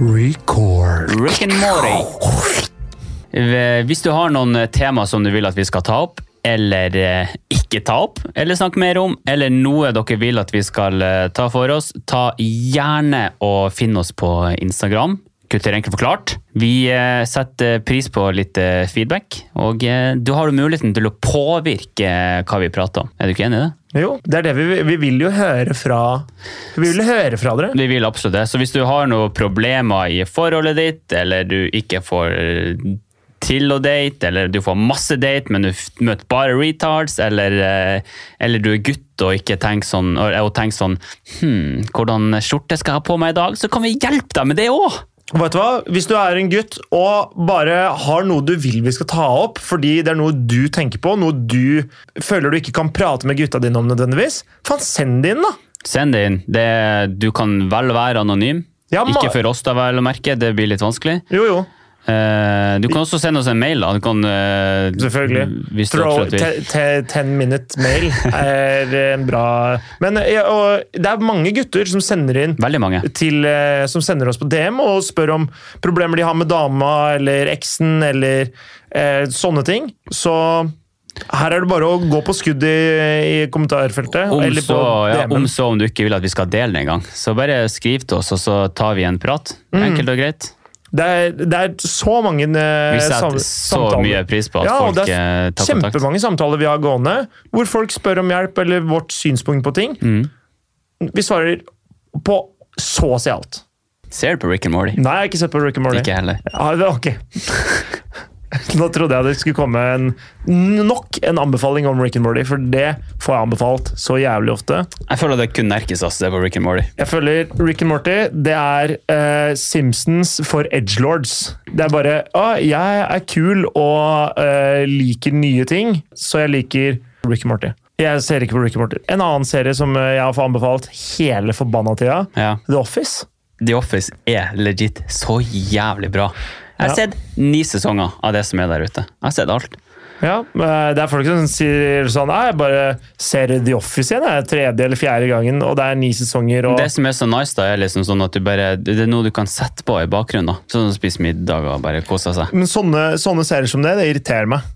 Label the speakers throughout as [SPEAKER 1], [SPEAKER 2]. [SPEAKER 1] Record.
[SPEAKER 2] Rick and Morty. Eh, Hvis du har noen eh, tema som du vil at vi skal ta opp, eller eh, ikke ta opp, eller snakke mer om, eller noe dere vil at vi skal eh, ta for oss, ta gjerne og finn oss på Instagram. Kutter enkelt forklart. Vi eh, setter pris på litt eh, feedback, og eh, du har jo muligheten til å påvirke eh, hva vi prater om. Er du ikke enig i det?
[SPEAKER 1] Jo, det er det vi, vi vil jo høre fra Vi vil høre fra dere.
[SPEAKER 2] Vi vil absolutt det. Så hvis du har noen problemer i forholdet ditt, eller du ikke får eh, til å date, eller du får masse date, men du f- møter bare retards, eller, eh, eller du er gutt og, ikke tenker sånn, og og tenker sånn Hm, hvordan skjorte skal jeg ha på meg i dag? Så kan vi hjelpe deg med det òg!
[SPEAKER 1] Og Vet du hva? Hvis du er en gutt og bare har noe du vil vi skal ta opp, fordi det er noe du tenker på, noe du føler du ikke kan prate med gutta dine om nødvendigvis, faen, send det inn, da!
[SPEAKER 2] Send det inn. Det, du kan vel være anonym.
[SPEAKER 1] Ja, ma-
[SPEAKER 2] ikke for oss, da, vel å merke. Det blir litt vanskelig.
[SPEAKER 1] Jo, jo.
[SPEAKER 2] Eh, du kan også sende oss en mail. da. Du kan, eh,
[SPEAKER 1] Selvfølgelig.
[SPEAKER 2] Hvis du
[SPEAKER 1] Throw
[SPEAKER 2] absolutt vil.
[SPEAKER 1] te- te- ten minute mail er en bra Men ja, og det er mange gutter som sender inn
[SPEAKER 2] Veldig mange.
[SPEAKER 1] til, eh, som sender oss på DM og spør om problemer de har med dama eller eksen eller eh, sånne ting. Så her er det bare å gå på skudd i, i kommentarfeltet.
[SPEAKER 2] Om
[SPEAKER 1] eller på
[SPEAKER 2] så, ja,
[SPEAKER 1] DM-en.
[SPEAKER 2] om så om du ikke vil at vi skal dele den engang. Så bare skriv til oss, og så tar vi en prat.
[SPEAKER 1] Mm.
[SPEAKER 2] Enkelt og greit.
[SPEAKER 1] det, er, det er så mange eh,
[SPEAKER 2] Vi setter
[SPEAKER 1] sam-
[SPEAKER 2] så
[SPEAKER 1] samtaler.
[SPEAKER 2] mye pris på at
[SPEAKER 1] Ja, og
[SPEAKER 2] folk
[SPEAKER 1] det er
[SPEAKER 2] eh, tar kontakt.
[SPEAKER 1] Kjempemange samtaler vi har gående, hvor folk spør om hjelp eller vårt synspunkt på ting.
[SPEAKER 2] Mm.
[SPEAKER 1] Vi svarer på så å si alt.
[SPEAKER 2] Ser du på Rick and Morty?
[SPEAKER 1] Nei, jeg har ikke sett på Rick and Morty.
[SPEAKER 2] Ikke jeg heller.
[SPEAKER 1] Ja, det- ok. Nå trodde jeg det skulle komme en, nok en anbefaling om Rick and Morty, for det får jeg anbefalt så jævlig ofte.
[SPEAKER 2] Jeg føler det kun nerkes oss det på Rick and Morty.
[SPEAKER 1] Jeg føler Rick and Morty det er eh, Simpsons for edgelords. Det er bare å, jeg er kul og eh, liker nye ting, så jeg liker Rick and Morty. Jeg ser ikke på Rick and Morty. En annen serie som eh, jeg har fått anbefalt hele forbanna tida,
[SPEAKER 2] Ja.
[SPEAKER 1] The Office.
[SPEAKER 2] The Office er legit så jævlig bra.
[SPEAKER 1] Ja.
[SPEAKER 2] Jeg har sett ni sesonger av det som er der ute. Jeg har sett alt.
[SPEAKER 1] Ja, eh, Det er folk som sier sånn Nei, jeg bare ser The Office igjen. Det er tredje eller fjerde gangen, og det er ni sesonger. Og
[SPEAKER 2] Det som er så nice, da, er liksom sånn at du bare, det er noe du kan sette på i bakgrunnen. da. Sånn at du spiser middag og bare koser seg.
[SPEAKER 1] Men sånne, sånne serier som det, det irriterer meg.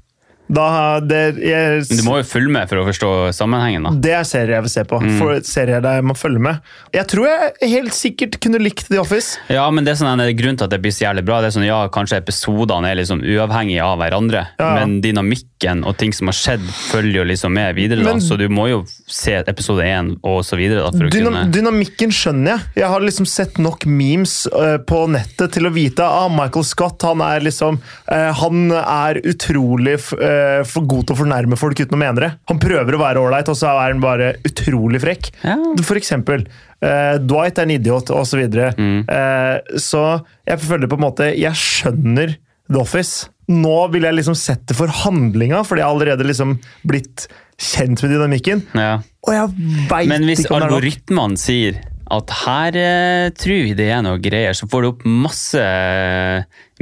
[SPEAKER 1] Da, det, jeg,
[SPEAKER 2] Men Du må jo følge med for å forstå sammenhengen. da.
[SPEAKER 1] det er serier jeg vil se på.
[SPEAKER 2] Mm.
[SPEAKER 1] For serier der man følger med. Jeg tror jeg helt sikkert kunne likt The Office.
[SPEAKER 2] Ja, men det er sånn en grunn til at det blir så jævlig bra. Det er sånn, ja, Kanskje episodene er liksom uavhengige av hverandre,
[SPEAKER 1] Ja.
[SPEAKER 2] men dynamikken og ting som har skjedd, følger jo liksom med videre.
[SPEAKER 1] Men-
[SPEAKER 2] da, Så du må jo se episode én og så videre. da, for å
[SPEAKER 1] Dynam
[SPEAKER 2] kunne...
[SPEAKER 1] dynamikken skjønner jeg. Jeg har liksom sett nok memes eh, på nettet til å vite at ah, Michael Scott han er liksom eh, Han er utrolig f eh, for god til å fornærme folk uten å mene det. Han prøver å være ålreit, og så er han bare utrolig frekk.
[SPEAKER 2] Ja.
[SPEAKER 1] For eksempel. eh, Dwight er en idiot, osv. Så, videre.
[SPEAKER 2] Mm.
[SPEAKER 1] Eh, så jeg føler på en måte Jeg skjønner The Office. Nå vil jeg liksom sett det for handlinga, fordi jeg har allerede liksom blitt kjent med dynamikken.
[SPEAKER 2] Ja.
[SPEAKER 1] Og jeg veit
[SPEAKER 2] Men hvis
[SPEAKER 1] ikke om det er nok.
[SPEAKER 2] algoritmene sier at her eh, tror vi det er noe greier, så får du opp masse eh,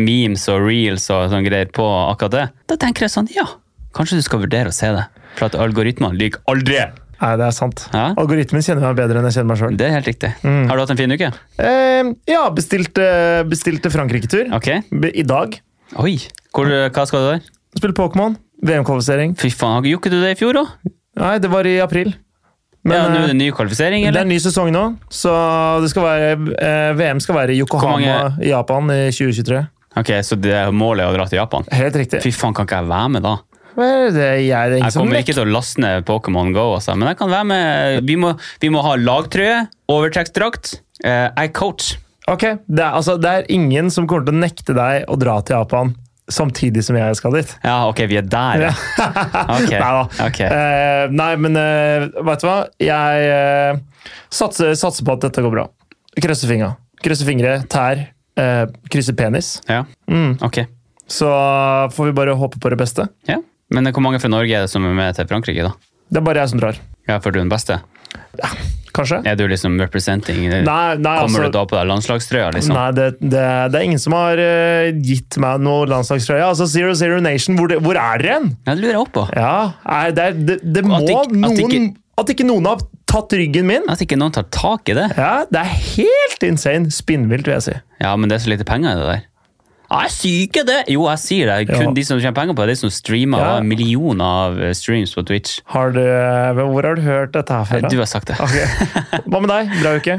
[SPEAKER 2] memes og reels og sånn greier på akkurat det. Da tenker jeg sånn, ja, kanskje du skal vurdere å se det. For at algoritmene lyver aldri.
[SPEAKER 1] Nei, det er sant.
[SPEAKER 2] Ja.
[SPEAKER 1] Algoritmen kjenner meg bedre enn jeg kjenner meg sjøl.
[SPEAKER 2] Det er helt riktig.
[SPEAKER 1] Mm.
[SPEAKER 2] Har du hatt en fin uke?
[SPEAKER 1] Eh, ja, bestilte, bestilte Frankrike-tur
[SPEAKER 2] Ok.
[SPEAKER 1] Be- i dag.
[SPEAKER 2] Oi, Hvor, eh, hva skal du der?
[SPEAKER 1] Spille Pokémon. VM-kvalifisering.
[SPEAKER 2] Fy faen, har ikke gjort du det i fjor òg?
[SPEAKER 1] Nei, det var i april.
[SPEAKER 2] Ja,
[SPEAKER 1] Men
[SPEAKER 2] nå er
[SPEAKER 1] eh,
[SPEAKER 2] det ny kvalifisering,
[SPEAKER 1] det er
[SPEAKER 2] eller?
[SPEAKER 1] en ny sesong nå, så det skal være, eh, VM skal være i
[SPEAKER 2] Hvor
[SPEAKER 1] Yokohama
[SPEAKER 2] mange-
[SPEAKER 1] i Japan i 2023.
[SPEAKER 2] Ok, Så det er målet er å dra til Japan?
[SPEAKER 1] Helt riktig.
[SPEAKER 2] Fy faen, kan ikke jeg være med da?
[SPEAKER 1] Vel, Det er jeg, det er ingen
[SPEAKER 2] Jeg
[SPEAKER 1] som
[SPEAKER 2] kommer ikke til å laste ned Pokémon GO, altså. men jeg kan være med. Vi må, vi må ha lagtrøye, overtrekksdrakt. Eh, jeg er coach.
[SPEAKER 1] Ok, det er, altså, det er ingen som kommer til å nekte deg å dra til Japan samtidig som jeg skal dit.
[SPEAKER 2] Ja, ok, vi er der, ja. Ok.
[SPEAKER 1] Neida.
[SPEAKER 2] Ok.
[SPEAKER 1] Eh, nei, men uh, vet du hva? Jeg eh, satser, satser på at dette går bra. Krysser fingra. Krysser fingre, tær, eh, krysser penis.
[SPEAKER 2] ja.
[SPEAKER 1] mm.
[SPEAKER 2] Ok.
[SPEAKER 1] Så får vi bare håpe på det beste.
[SPEAKER 2] Ja. Men eh, hvor mange fra Norge er det som er med til Frankrike, da?
[SPEAKER 1] Det er bare jeg som drar.
[SPEAKER 2] Ja, For du er den beste?
[SPEAKER 1] Kanskje?
[SPEAKER 2] Er du liksom representing?
[SPEAKER 1] Nei, nei,
[SPEAKER 2] Kommer
[SPEAKER 1] altså,
[SPEAKER 2] du da på deg landslagstrøya, liksom?
[SPEAKER 1] nei det, det, det er ingen som har eh, gitt meg noe landslagstrøye. Altså Zero Zero Nation, hvor, det, hvor er dere hen? Eh.
[SPEAKER 2] Ja, det lurer jeg også på.
[SPEAKER 1] Ja, nei, det, er- det, det må
[SPEAKER 2] ikke- at
[SPEAKER 1] noen
[SPEAKER 2] ikke-
[SPEAKER 1] At ikke noen har tatt ryggen min.
[SPEAKER 2] At ikke noen tar tak i det.
[SPEAKER 1] Ja, Det er helt insane. Spinnvilt, vil jeg si.
[SPEAKER 2] Ja, men det er så lite penger i det der. Ja, jeg sier ikke det! Jo, jeg sier det. Kun
[SPEAKER 1] Ja.
[SPEAKER 2] de som tjener penger på det, er de som
[SPEAKER 1] Ja.
[SPEAKER 2] streamer og har millioner av eh, streams på Twitch.
[SPEAKER 1] Har du, hvor har du hørt dette her fra?
[SPEAKER 2] Du har sagt det.
[SPEAKER 1] Ah. Ok. Hva med deg? Bra uke?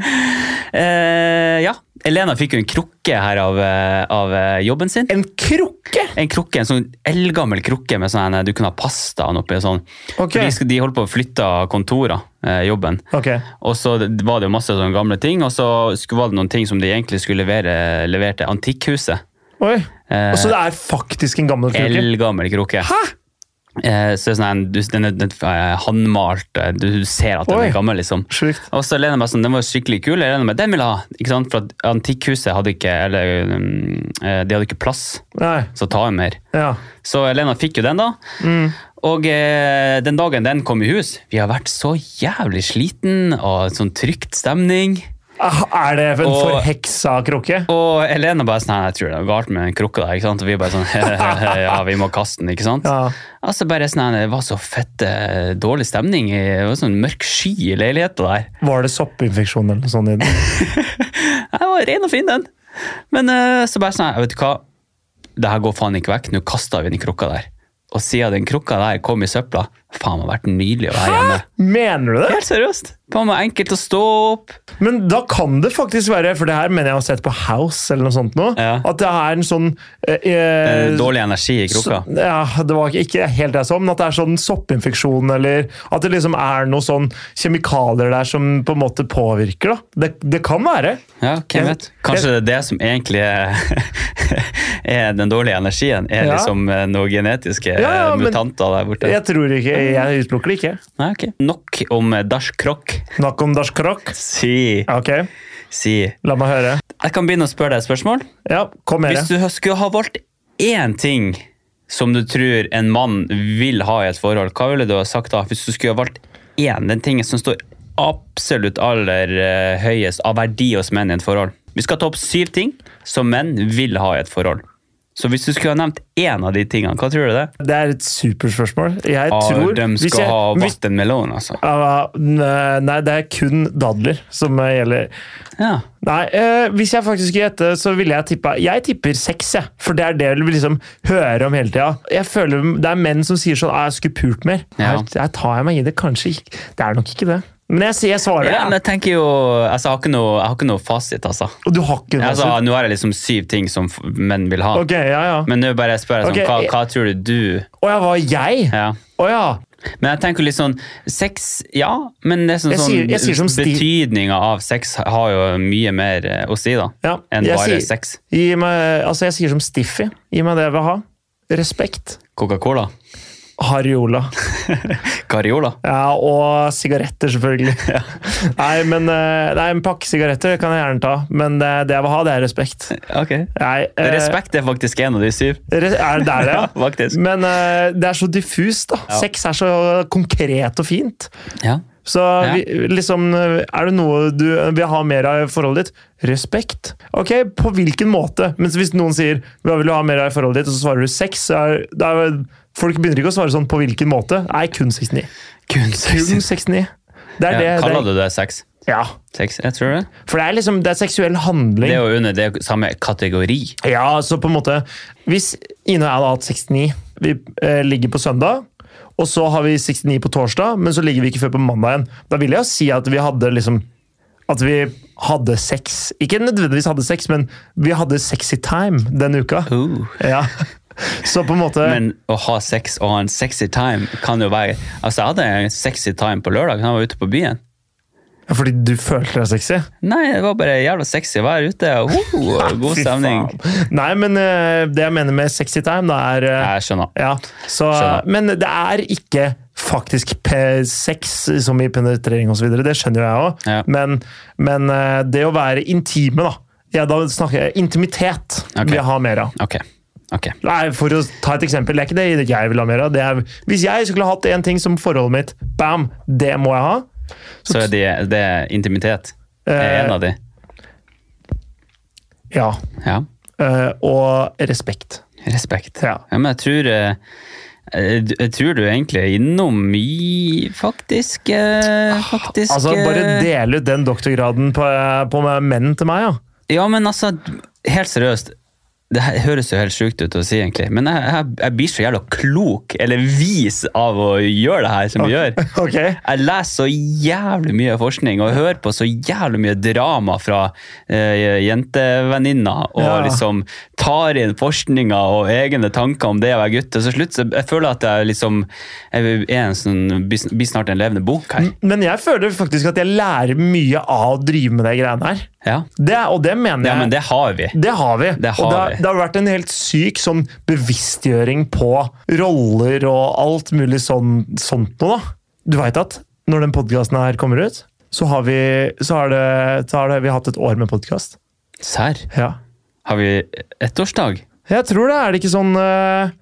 [SPEAKER 2] Eh, ja. Elena fikk jo en krukke her av, eh, av eh, jobben sin.
[SPEAKER 1] En krukke!
[SPEAKER 2] En krukke, en sånn eldgammel krukke med sånn en, du kunne ha pastaen oppi og sånn.
[SPEAKER 1] Ok.
[SPEAKER 2] For de, skal- de holdt på å flytte kontorer, eh, jobben.
[SPEAKER 1] Ok,
[SPEAKER 2] Og så var det jo masse sånne gamle ting, og så skulle- var det noen ting som de egentlig skulle levere, levere til Antikkhuset.
[SPEAKER 1] oi.
[SPEAKER 2] Eh,
[SPEAKER 1] Og så det er faktisk en gammel krukke?
[SPEAKER 2] Eldgammel krukke.
[SPEAKER 1] Hæ?
[SPEAKER 2] Eh, så sånn, en- du, den er den er håndmalt, eh, du ser at den
[SPEAKER 1] Oi.
[SPEAKER 2] er gammel, liksom.
[SPEAKER 1] Sjukt.
[SPEAKER 2] Og så Lena meg sånn, den var skikkelig kul, jeg regner med den vil jeg ha, ikke sant? For at Antikkhuset hadde ikke, eller, mm, eh, de hadde ikke plass,
[SPEAKER 1] Nei.
[SPEAKER 2] så ta en mer.
[SPEAKER 1] Ja.
[SPEAKER 2] Så Lena fikk jo den da, og eh, den dagen den kom i hus, vi har vært så jævlig sliten, og sånn trygt stemning.
[SPEAKER 1] Ah, Er det en
[SPEAKER 2] Og-
[SPEAKER 1] forheksa krukke?
[SPEAKER 2] Og Elena bare sånn, «Nei, jeg tror det er noe galt med den krukka der, ikke sant? Og vi bare sånn, ja, vi må kaste den, ikke sant?
[SPEAKER 1] Ja.
[SPEAKER 2] Altså bare sånn, det var så fett eh, dårlig stemning, det var sånn mørk sky i leiligheten der.
[SPEAKER 1] Var det soppinfeksjon eller noe sånt i den?
[SPEAKER 2] Jeg var ren og fin den. Men eh, så bare sånn, vet du hva? Det her går faen ikke vekk, nå kaster vi den krukka der. Og siden den krukka der kom i søpla, faen det har vært nydelig å være hjemme.
[SPEAKER 1] Mener du det?
[SPEAKER 2] Helt seriøst. Faen meg enkelt å stå opp.
[SPEAKER 1] Men da kan det faktisk være, for det her mener jeg har sett på House eller noe sånt nå,
[SPEAKER 2] Ja.
[SPEAKER 1] at det er en sånn eh, eh,
[SPEAKER 2] Eh, Dårlig energi i
[SPEAKER 1] så,
[SPEAKER 2] krukka.
[SPEAKER 1] ja, Det var ikke- ikke helt det jeg så, men at det er sånn soppinfeksjon eller At det liksom er noe sånn kjemikalier der som på en måte påvirker, da. Det, det kan være.
[SPEAKER 2] Ja, hvem vet? Kanskje det er det som egentlig er, er den dårlige energien? Er
[SPEAKER 1] Ja.
[SPEAKER 2] liksom eh, noen genetiske eh,
[SPEAKER 1] Ja, ja, men-
[SPEAKER 2] mutanter der borte?
[SPEAKER 1] Jeg tror ikke, jeg utelukker det ikke.
[SPEAKER 2] Nei, ok. Nok om eh, Dash Krok.
[SPEAKER 1] Snakk om Dash Krok.
[SPEAKER 2] Si,
[SPEAKER 1] Ok,
[SPEAKER 2] si.
[SPEAKER 1] la meg høre.
[SPEAKER 2] Jeg kan begynne å spørre deg et spørsmål.
[SPEAKER 1] Ja, kom med
[SPEAKER 2] Hvis
[SPEAKER 1] det.
[SPEAKER 2] du skulle ha valgt én ting som du tror en mann vil ha i et forhold, hva ville du ha sagt da? Hvis du skulle ha valgt én, den tingen som står absolutt aller eh, høyest av verdi hos menn i et forhold. Vi skal ta opp syv ting som menn vil ha i et forhold. Så hvis du skulle ha nevnt én av de tingene, hva tror du det er?
[SPEAKER 1] Det er et superspørsmål. Jeg
[SPEAKER 2] Ah,
[SPEAKER 1] tror
[SPEAKER 2] de
[SPEAKER 1] hvis
[SPEAKER 2] skal
[SPEAKER 1] jeg-
[SPEAKER 2] ha
[SPEAKER 1] hvis-
[SPEAKER 2] vatten melon, altså.
[SPEAKER 1] Ah, Nei, det er kun dadler som eh, gjelder.
[SPEAKER 2] Ja.
[SPEAKER 1] Nei, eh, hvis jeg faktisk skulle gjette, så ville jeg tippa Jeg tipper seks, jeg. For det er det vi liksom hører om hele tida. Jeg føler Det er menn som sier sånn «Ah, 'Jeg skulle pult mer'.
[SPEAKER 2] Ja.
[SPEAKER 1] Her, her tar jeg meg i det. Kanskje ikke Det er nok ikke det. Men jeg sier jeg svarer.
[SPEAKER 2] ja,
[SPEAKER 1] Ja,
[SPEAKER 2] men jeg tenker jo altså, jeg, har ikke noe, jeg har ikke noe fasit, altså.
[SPEAKER 1] Og du har ikke noe
[SPEAKER 2] altså.
[SPEAKER 1] sånt?
[SPEAKER 2] Nå har jeg liksom syv ting som f- menn vil ha.
[SPEAKER 1] Ok, ja, ja.
[SPEAKER 2] Men nå bare spør jeg sånn,
[SPEAKER 1] Ok,
[SPEAKER 2] hva,
[SPEAKER 1] jeg-
[SPEAKER 2] hva tror du du
[SPEAKER 1] Å ja, var jeg?
[SPEAKER 2] Ja.
[SPEAKER 1] Å ja.
[SPEAKER 2] Men jeg tenker litt sånn Sex, ja, men det er sånn,
[SPEAKER 1] Jeg sier- jeg sier som
[SPEAKER 2] sånn
[SPEAKER 1] Steve-
[SPEAKER 2] Betydninga av sex har jo mye mer eh, å si, da.
[SPEAKER 1] ja.
[SPEAKER 2] Enn
[SPEAKER 1] Jeg
[SPEAKER 2] bare
[SPEAKER 1] sier-
[SPEAKER 2] sex.
[SPEAKER 1] Gi meg, altså jeg sier som Stiffy. Gi meg det jeg vil ha. Respekt.
[SPEAKER 2] Coca-Cola.
[SPEAKER 1] Hariola.
[SPEAKER 2] Cariola.
[SPEAKER 1] Ja, og sigaretter, selvfølgelig. nei, men, eh, nei, en pakke sigaretter kan jeg gjerne ta, men det, det jeg vil ha, det er respekt.
[SPEAKER 2] Ok.
[SPEAKER 1] Nei, eh,
[SPEAKER 2] Respekt er faktisk en av de syv.
[SPEAKER 1] Re er det er det, ja?
[SPEAKER 2] Ja, faktisk.
[SPEAKER 1] Men eh, det er så diffust, da.
[SPEAKER 2] Ja.
[SPEAKER 1] Sex er så konkret og fint.
[SPEAKER 2] Ja.
[SPEAKER 1] Så vi, liksom eh, Er det noe du vil ha mer av i forholdet ditt? Respekt. Ok, på hvilken måte? Mens hvis noen sier hva vil du ha mer av i forholdet ditt, og så svarer du sex, så er, da er, folk begynner ikke å svare sånn på hvilken måte. Nei, kun 69.
[SPEAKER 2] Kun sex.
[SPEAKER 1] Kun 69. Det er
[SPEAKER 2] Ja,
[SPEAKER 1] det.
[SPEAKER 2] kaller
[SPEAKER 1] det
[SPEAKER 2] du det sex?
[SPEAKER 1] ja.
[SPEAKER 2] Sex, jeg tror det.
[SPEAKER 1] For det er liksom det er seksuell
[SPEAKER 2] Det
[SPEAKER 1] handling.
[SPEAKER 2] er jo under det er jo samme kategori.
[SPEAKER 1] Ja, så på en måte Hvis Ine og jeg hadde hatt 69 Vi eh, ligger på søndag Og så har vi 69 på torsdag Men så ligger vi ikke før på mandag igjen Da vil jeg jo si at vi hadde liksom At vi hadde sex Ikke nødvendigvis hadde sex, men vi hadde sexy time Den uka
[SPEAKER 2] Uh.
[SPEAKER 1] ja. Så på en måte
[SPEAKER 2] Men å ha sex og ha en sexy time kan jo være Altså, jeg hadde en sexy time på lørdag. Jeg var ute på byen.
[SPEAKER 1] Fordi du følte deg sexy
[SPEAKER 2] Nei, det var bare jævla sexy å være ute. Oh, god
[SPEAKER 1] Fy
[SPEAKER 2] stemning.
[SPEAKER 1] faen. Nei, men eh, det jeg mener med sexy time Da er eh,
[SPEAKER 2] Jeg skjønner.
[SPEAKER 1] Ja, så,
[SPEAKER 2] Skjønner.
[SPEAKER 1] men det er ikke faktisk pe- sex som i penetrering osv. Det skjønner jeg òg.
[SPEAKER 2] Ja.
[SPEAKER 1] Men, men eh, det å være intime, da. Ja, da snakker jeg intimitet.
[SPEAKER 2] Ok.
[SPEAKER 1] Vil jeg ha mer av.
[SPEAKER 2] Ok. ok.
[SPEAKER 1] Nei, for å ta et eksempel, det er ikke det jeg vil ha mer av. Det er, hvis jeg skulle hatt én ting som forholdet mitt, bam, det må jeg ha.
[SPEAKER 2] Så er det, det er intimitet. Det er
[SPEAKER 1] Eh,
[SPEAKER 2] en av de.
[SPEAKER 1] Ja.
[SPEAKER 2] Ja.
[SPEAKER 1] eh, og respekt.
[SPEAKER 2] Respekt.
[SPEAKER 1] Ja.
[SPEAKER 2] Ja, men jeg tror eh, Eh, d- Jeg tror du egentlig er innom mye, faktisk. eh, faktisk
[SPEAKER 1] Altså, bare
[SPEAKER 2] eh,
[SPEAKER 1] del ut den doktorgraden på, eh, på menn til meg, ja.
[SPEAKER 2] Ja, men altså, helt seriøst. Det her høres jo helt sjukt ut å si, egentlig, men jeg, jeg, jeg blir så jævla klok eller vis av å gjøre det her som vi gjør.
[SPEAKER 1] Ok.
[SPEAKER 2] Jeg leser så jævlig mye forskning og hører på så jævlig mye drama fra eh, jentevenninner, og
[SPEAKER 1] Ja.
[SPEAKER 2] liksom tar inn forskninga og egne tanker om det å være gutt. Og så slutt, så jeg føler at jeg liksom jeg er en sånn, blir sn- blir snart en levende bok her.
[SPEAKER 1] Men jeg føler faktisk at jeg lærer mye av å drive med de greiene her.
[SPEAKER 2] Ja,
[SPEAKER 1] Det, og det mener jeg.
[SPEAKER 2] ja men det har vi.
[SPEAKER 1] Det har vi.
[SPEAKER 2] Det har
[SPEAKER 1] og det, har-
[SPEAKER 2] vi.
[SPEAKER 1] det har vært en helt syk sånn bevisstgjøring på roller og alt mulig sånn, sånt noe. da. Du veit at når den podkasten her kommer ut, så har vi, så har det, så har det, vi har hatt et år med podkast.
[SPEAKER 2] Serr?
[SPEAKER 1] Ja.
[SPEAKER 2] Har vi ettårsdag?
[SPEAKER 1] Jeg tror det er det ikke sånn eh,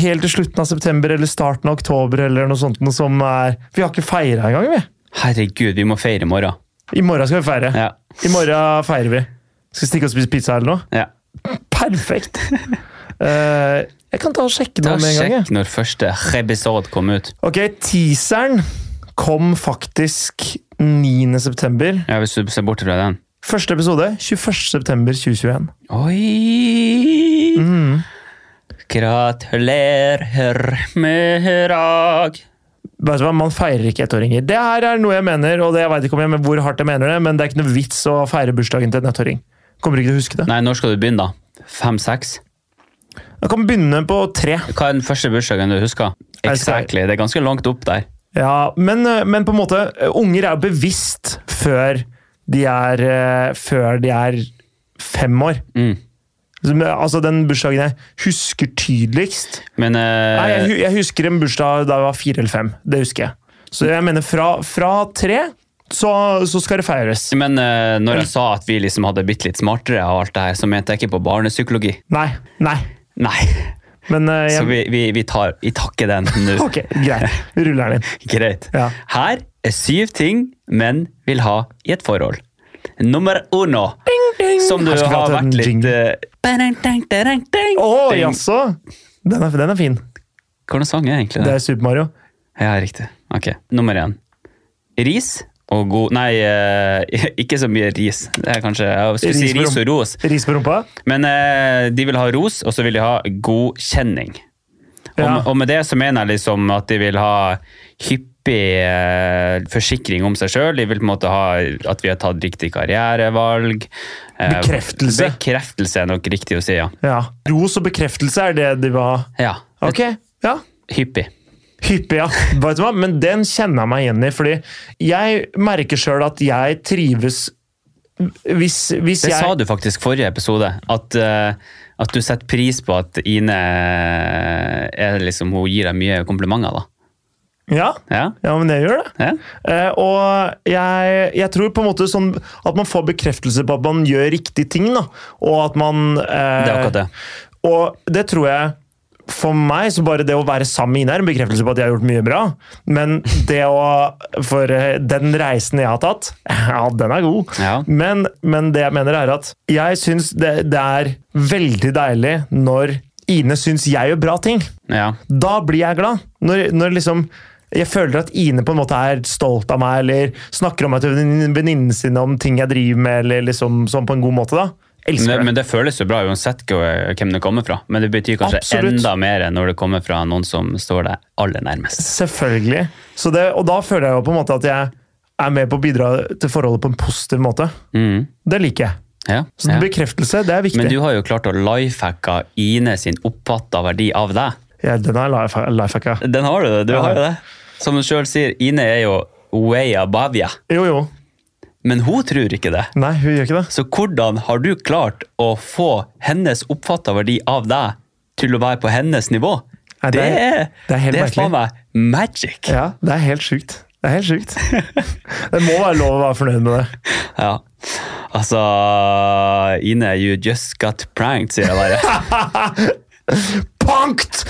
[SPEAKER 1] helt til slutten av september eller starten av oktober eller noe sånt noe som er Vi har ikke feira engang, vi.
[SPEAKER 2] Herregud, vi må feire i morgen.
[SPEAKER 1] I morgen skal vi feire.
[SPEAKER 2] Ja.
[SPEAKER 1] I morgen feirer vi. Skal stikke og spise pizza eller noe.
[SPEAKER 2] ja.
[SPEAKER 1] Perfekt! Eh, jeg kan ta og sjekke
[SPEAKER 2] Da
[SPEAKER 1] det med en gang. jeg.
[SPEAKER 2] Sjekk når første episode kom ut.
[SPEAKER 1] Ok, teaseren kom faktisk 9. september.
[SPEAKER 2] Ja, Hvis du ser bort fra den.
[SPEAKER 1] Første episode 21. september 2021.
[SPEAKER 2] Oi!
[SPEAKER 1] Mm.
[SPEAKER 2] Gratulerer med dag.
[SPEAKER 1] Vet du hva, Man feirer ikke ettåringer. Det her er noe jeg mener, og det, jeg vet ikke om jeg, hvor hardt jeg mener det, men det er ikke noe vits å feire bursdagen til en ettåring. Kommer ikke til å huske det.
[SPEAKER 2] Nei, når skal du begynne, da? Fem-seks?
[SPEAKER 1] Jeg kan begynne på tre.
[SPEAKER 2] Hva er den første bursdagen du husker?
[SPEAKER 1] Jeg skal-
[SPEAKER 2] Exactly. Det er ganske langt opp der.
[SPEAKER 1] Ja, men, eh, men på en måte, unger er jo bevisst før de er, eh, før de er fem år.
[SPEAKER 2] Mm.
[SPEAKER 1] Som- Altså Den bursdagen jeg husker tydeligst,
[SPEAKER 2] Men eh,
[SPEAKER 1] Nei, jeg, hu- jeg husker en bursdag da jeg var fire eller fem. Det husker jeg. Så jeg mener fra, fra tre så, så skal det feires.
[SPEAKER 2] men eh, når jeg sa at vi liksom hadde blitt litt smartere, og alt det her, så mente jeg ikke på barnepsykologi.
[SPEAKER 1] Nei. Nei.
[SPEAKER 2] Nei.
[SPEAKER 1] Men eh,
[SPEAKER 2] Så
[SPEAKER 1] jeg,
[SPEAKER 2] vi, vi, vi tar Vi takker den nå.
[SPEAKER 1] Ok, greit. Vi ruller den inn.
[SPEAKER 2] Greit.
[SPEAKER 1] Ja.
[SPEAKER 2] Her er syv ting menn vil ha i et forhold. Nummer uno, som du
[SPEAKER 1] Her skal vi ha
[SPEAKER 2] har
[SPEAKER 1] til en
[SPEAKER 2] vært litt
[SPEAKER 1] jingle.
[SPEAKER 2] eh, barang, dang, darang, dang.
[SPEAKER 1] Å,
[SPEAKER 2] Ding.
[SPEAKER 1] jaså! Den er, den er fin.
[SPEAKER 2] Hvordan sang er egentlig
[SPEAKER 1] Det
[SPEAKER 2] det?
[SPEAKER 1] er Super Mario.
[SPEAKER 2] Ja, riktig. Ok, Nummer én. Ris og god Nei, eh, ikke så mye ris. Det er kanskje, Jeg skulle si
[SPEAKER 1] Ris med
[SPEAKER 2] ris og ros.
[SPEAKER 1] Ris på rumpa.
[SPEAKER 2] Men eh, de vil ha ros, og så vil de ha godkjenning. Og,
[SPEAKER 1] Ja.
[SPEAKER 2] med- og med det så mener jeg liksom at de vil ha hyppig eh, forsikring om seg sjøl. De vil på en måte ha at vi har tatt riktig karrierevalg. Eh,
[SPEAKER 1] Bekreftelse.
[SPEAKER 2] Bekreftelse er nok riktig å si, ja.
[SPEAKER 1] Ja. Ros og bekreftelse er det de var.
[SPEAKER 2] ja.
[SPEAKER 1] Ok, ja.
[SPEAKER 2] Hyppig.
[SPEAKER 1] Hyppig, ja. Vet du hva? Men den kjenner jeg meg igjen i, fordi jeg merker sjøl at jeg trives hvis, hvis
[SPEAKER 2] Det
[SPEAKER 1] jeg
[SPEAKER 2] sa du faktisk forrige episode, at, eh, at du setter pris på at Ine er liksom, hun gir deg mye komplimenter. da.
[SPEAKER 1] Ja,
[SPEAKER 2] Ja?
[SPEAKER 1] ja men jeg gjør det.
[SPEAKER 2] ja?
[SPEAKER 1] Eh, og jeg, jeg tror på en måte sånn at man får bekreftelse på at man gjør riktige ting, da. Og at man eh,
[SPEAKER 2] Det er akkurat det.
[SPEAKER 1] Og det tror jeg for meg så bare det å være sammen med Ine er en bekreftelse på at jeg har gjort mye bra. Men det å For eh, den reisen jeg har tatt, ja, den er god.
[SPEAKER 2] Ja.
[SPEAKER 1] Men, men det jeg mener er at jeg syns det, det er veldig deilig når Ine syns jeg gjør bra ting
[SPEAKER 2] ja.
[SPEAKER 1] da blir jeg glad. Når, når liksom jeg føler at Ine på en måte er stolt av meg, eller snakker om meg til vennin- venninnene sine om ting jeg driver med, eller liksom sånn på en god måte, da. Elsker
[SPEAKER 2] Men,
[SPEAKER 1] det.
[SPEAKER 2] men det føles jo bra uansett hva- hvem det kommer fra. Men det betyr kanskje
[SPEAKER 1] Absolutt.
[SPEAKER 2] enda mer enn når det kommer fra noen som står deg aller nærmest.
[SPEAKER 1] Selvfølgelig. Så det, og da føler jeg jo på en måte at jeg er med på å bidra til forholdet på en positiv måte.
[SPEAKER 2] Mm.
[SPEAKER 1] Det liker jeg.
[SPEAKER 2] Ja,
[SPEAKER 1] Så
[SPEAKER 2] ja.
[SPEAKER 1] bekreftelse, det er viktig.
[SPEAKER 2] Men du har jo klart å lifehacka Ine sin oppfatta verdi av deg.
[SPEAKER 1] Ja, den er life, lifehacka.
[SPEAKER 2] Den har du, det, du
[SPEAKER 1] Ja.
[SPEAKER 2] har jo det. Som hun sjøl sier, Ine er jo way above you.
[SPEAKER 1] Jo, jo.
[SPEAKER 2] Men hun tror ikke det.
[SPEAKER 1] Nei, hun gjør ikke det.
[SPEAKER 2] Så hvordan har du klart å få hennes oppfatta verdi av deg til å være på hennes nivå?
[SPEAKER 1] Nei,
[SPEAKER 2] det,
[SPEAKER 1] det er-
[SPEAKER 2] er,
[SPEAKER 1] det er helt merkelig.
[SPEAKER 2] faen meg magic.
[SPEAKER 1] Ja, det er helt sjukt. Det er helt sjukt. Det må være lov å være fornøyd med det.
[SPEAKER 2] Ja. Altså Ine, you just got pranked, sier jeg bare.
[SPEAKER 1] Pankt!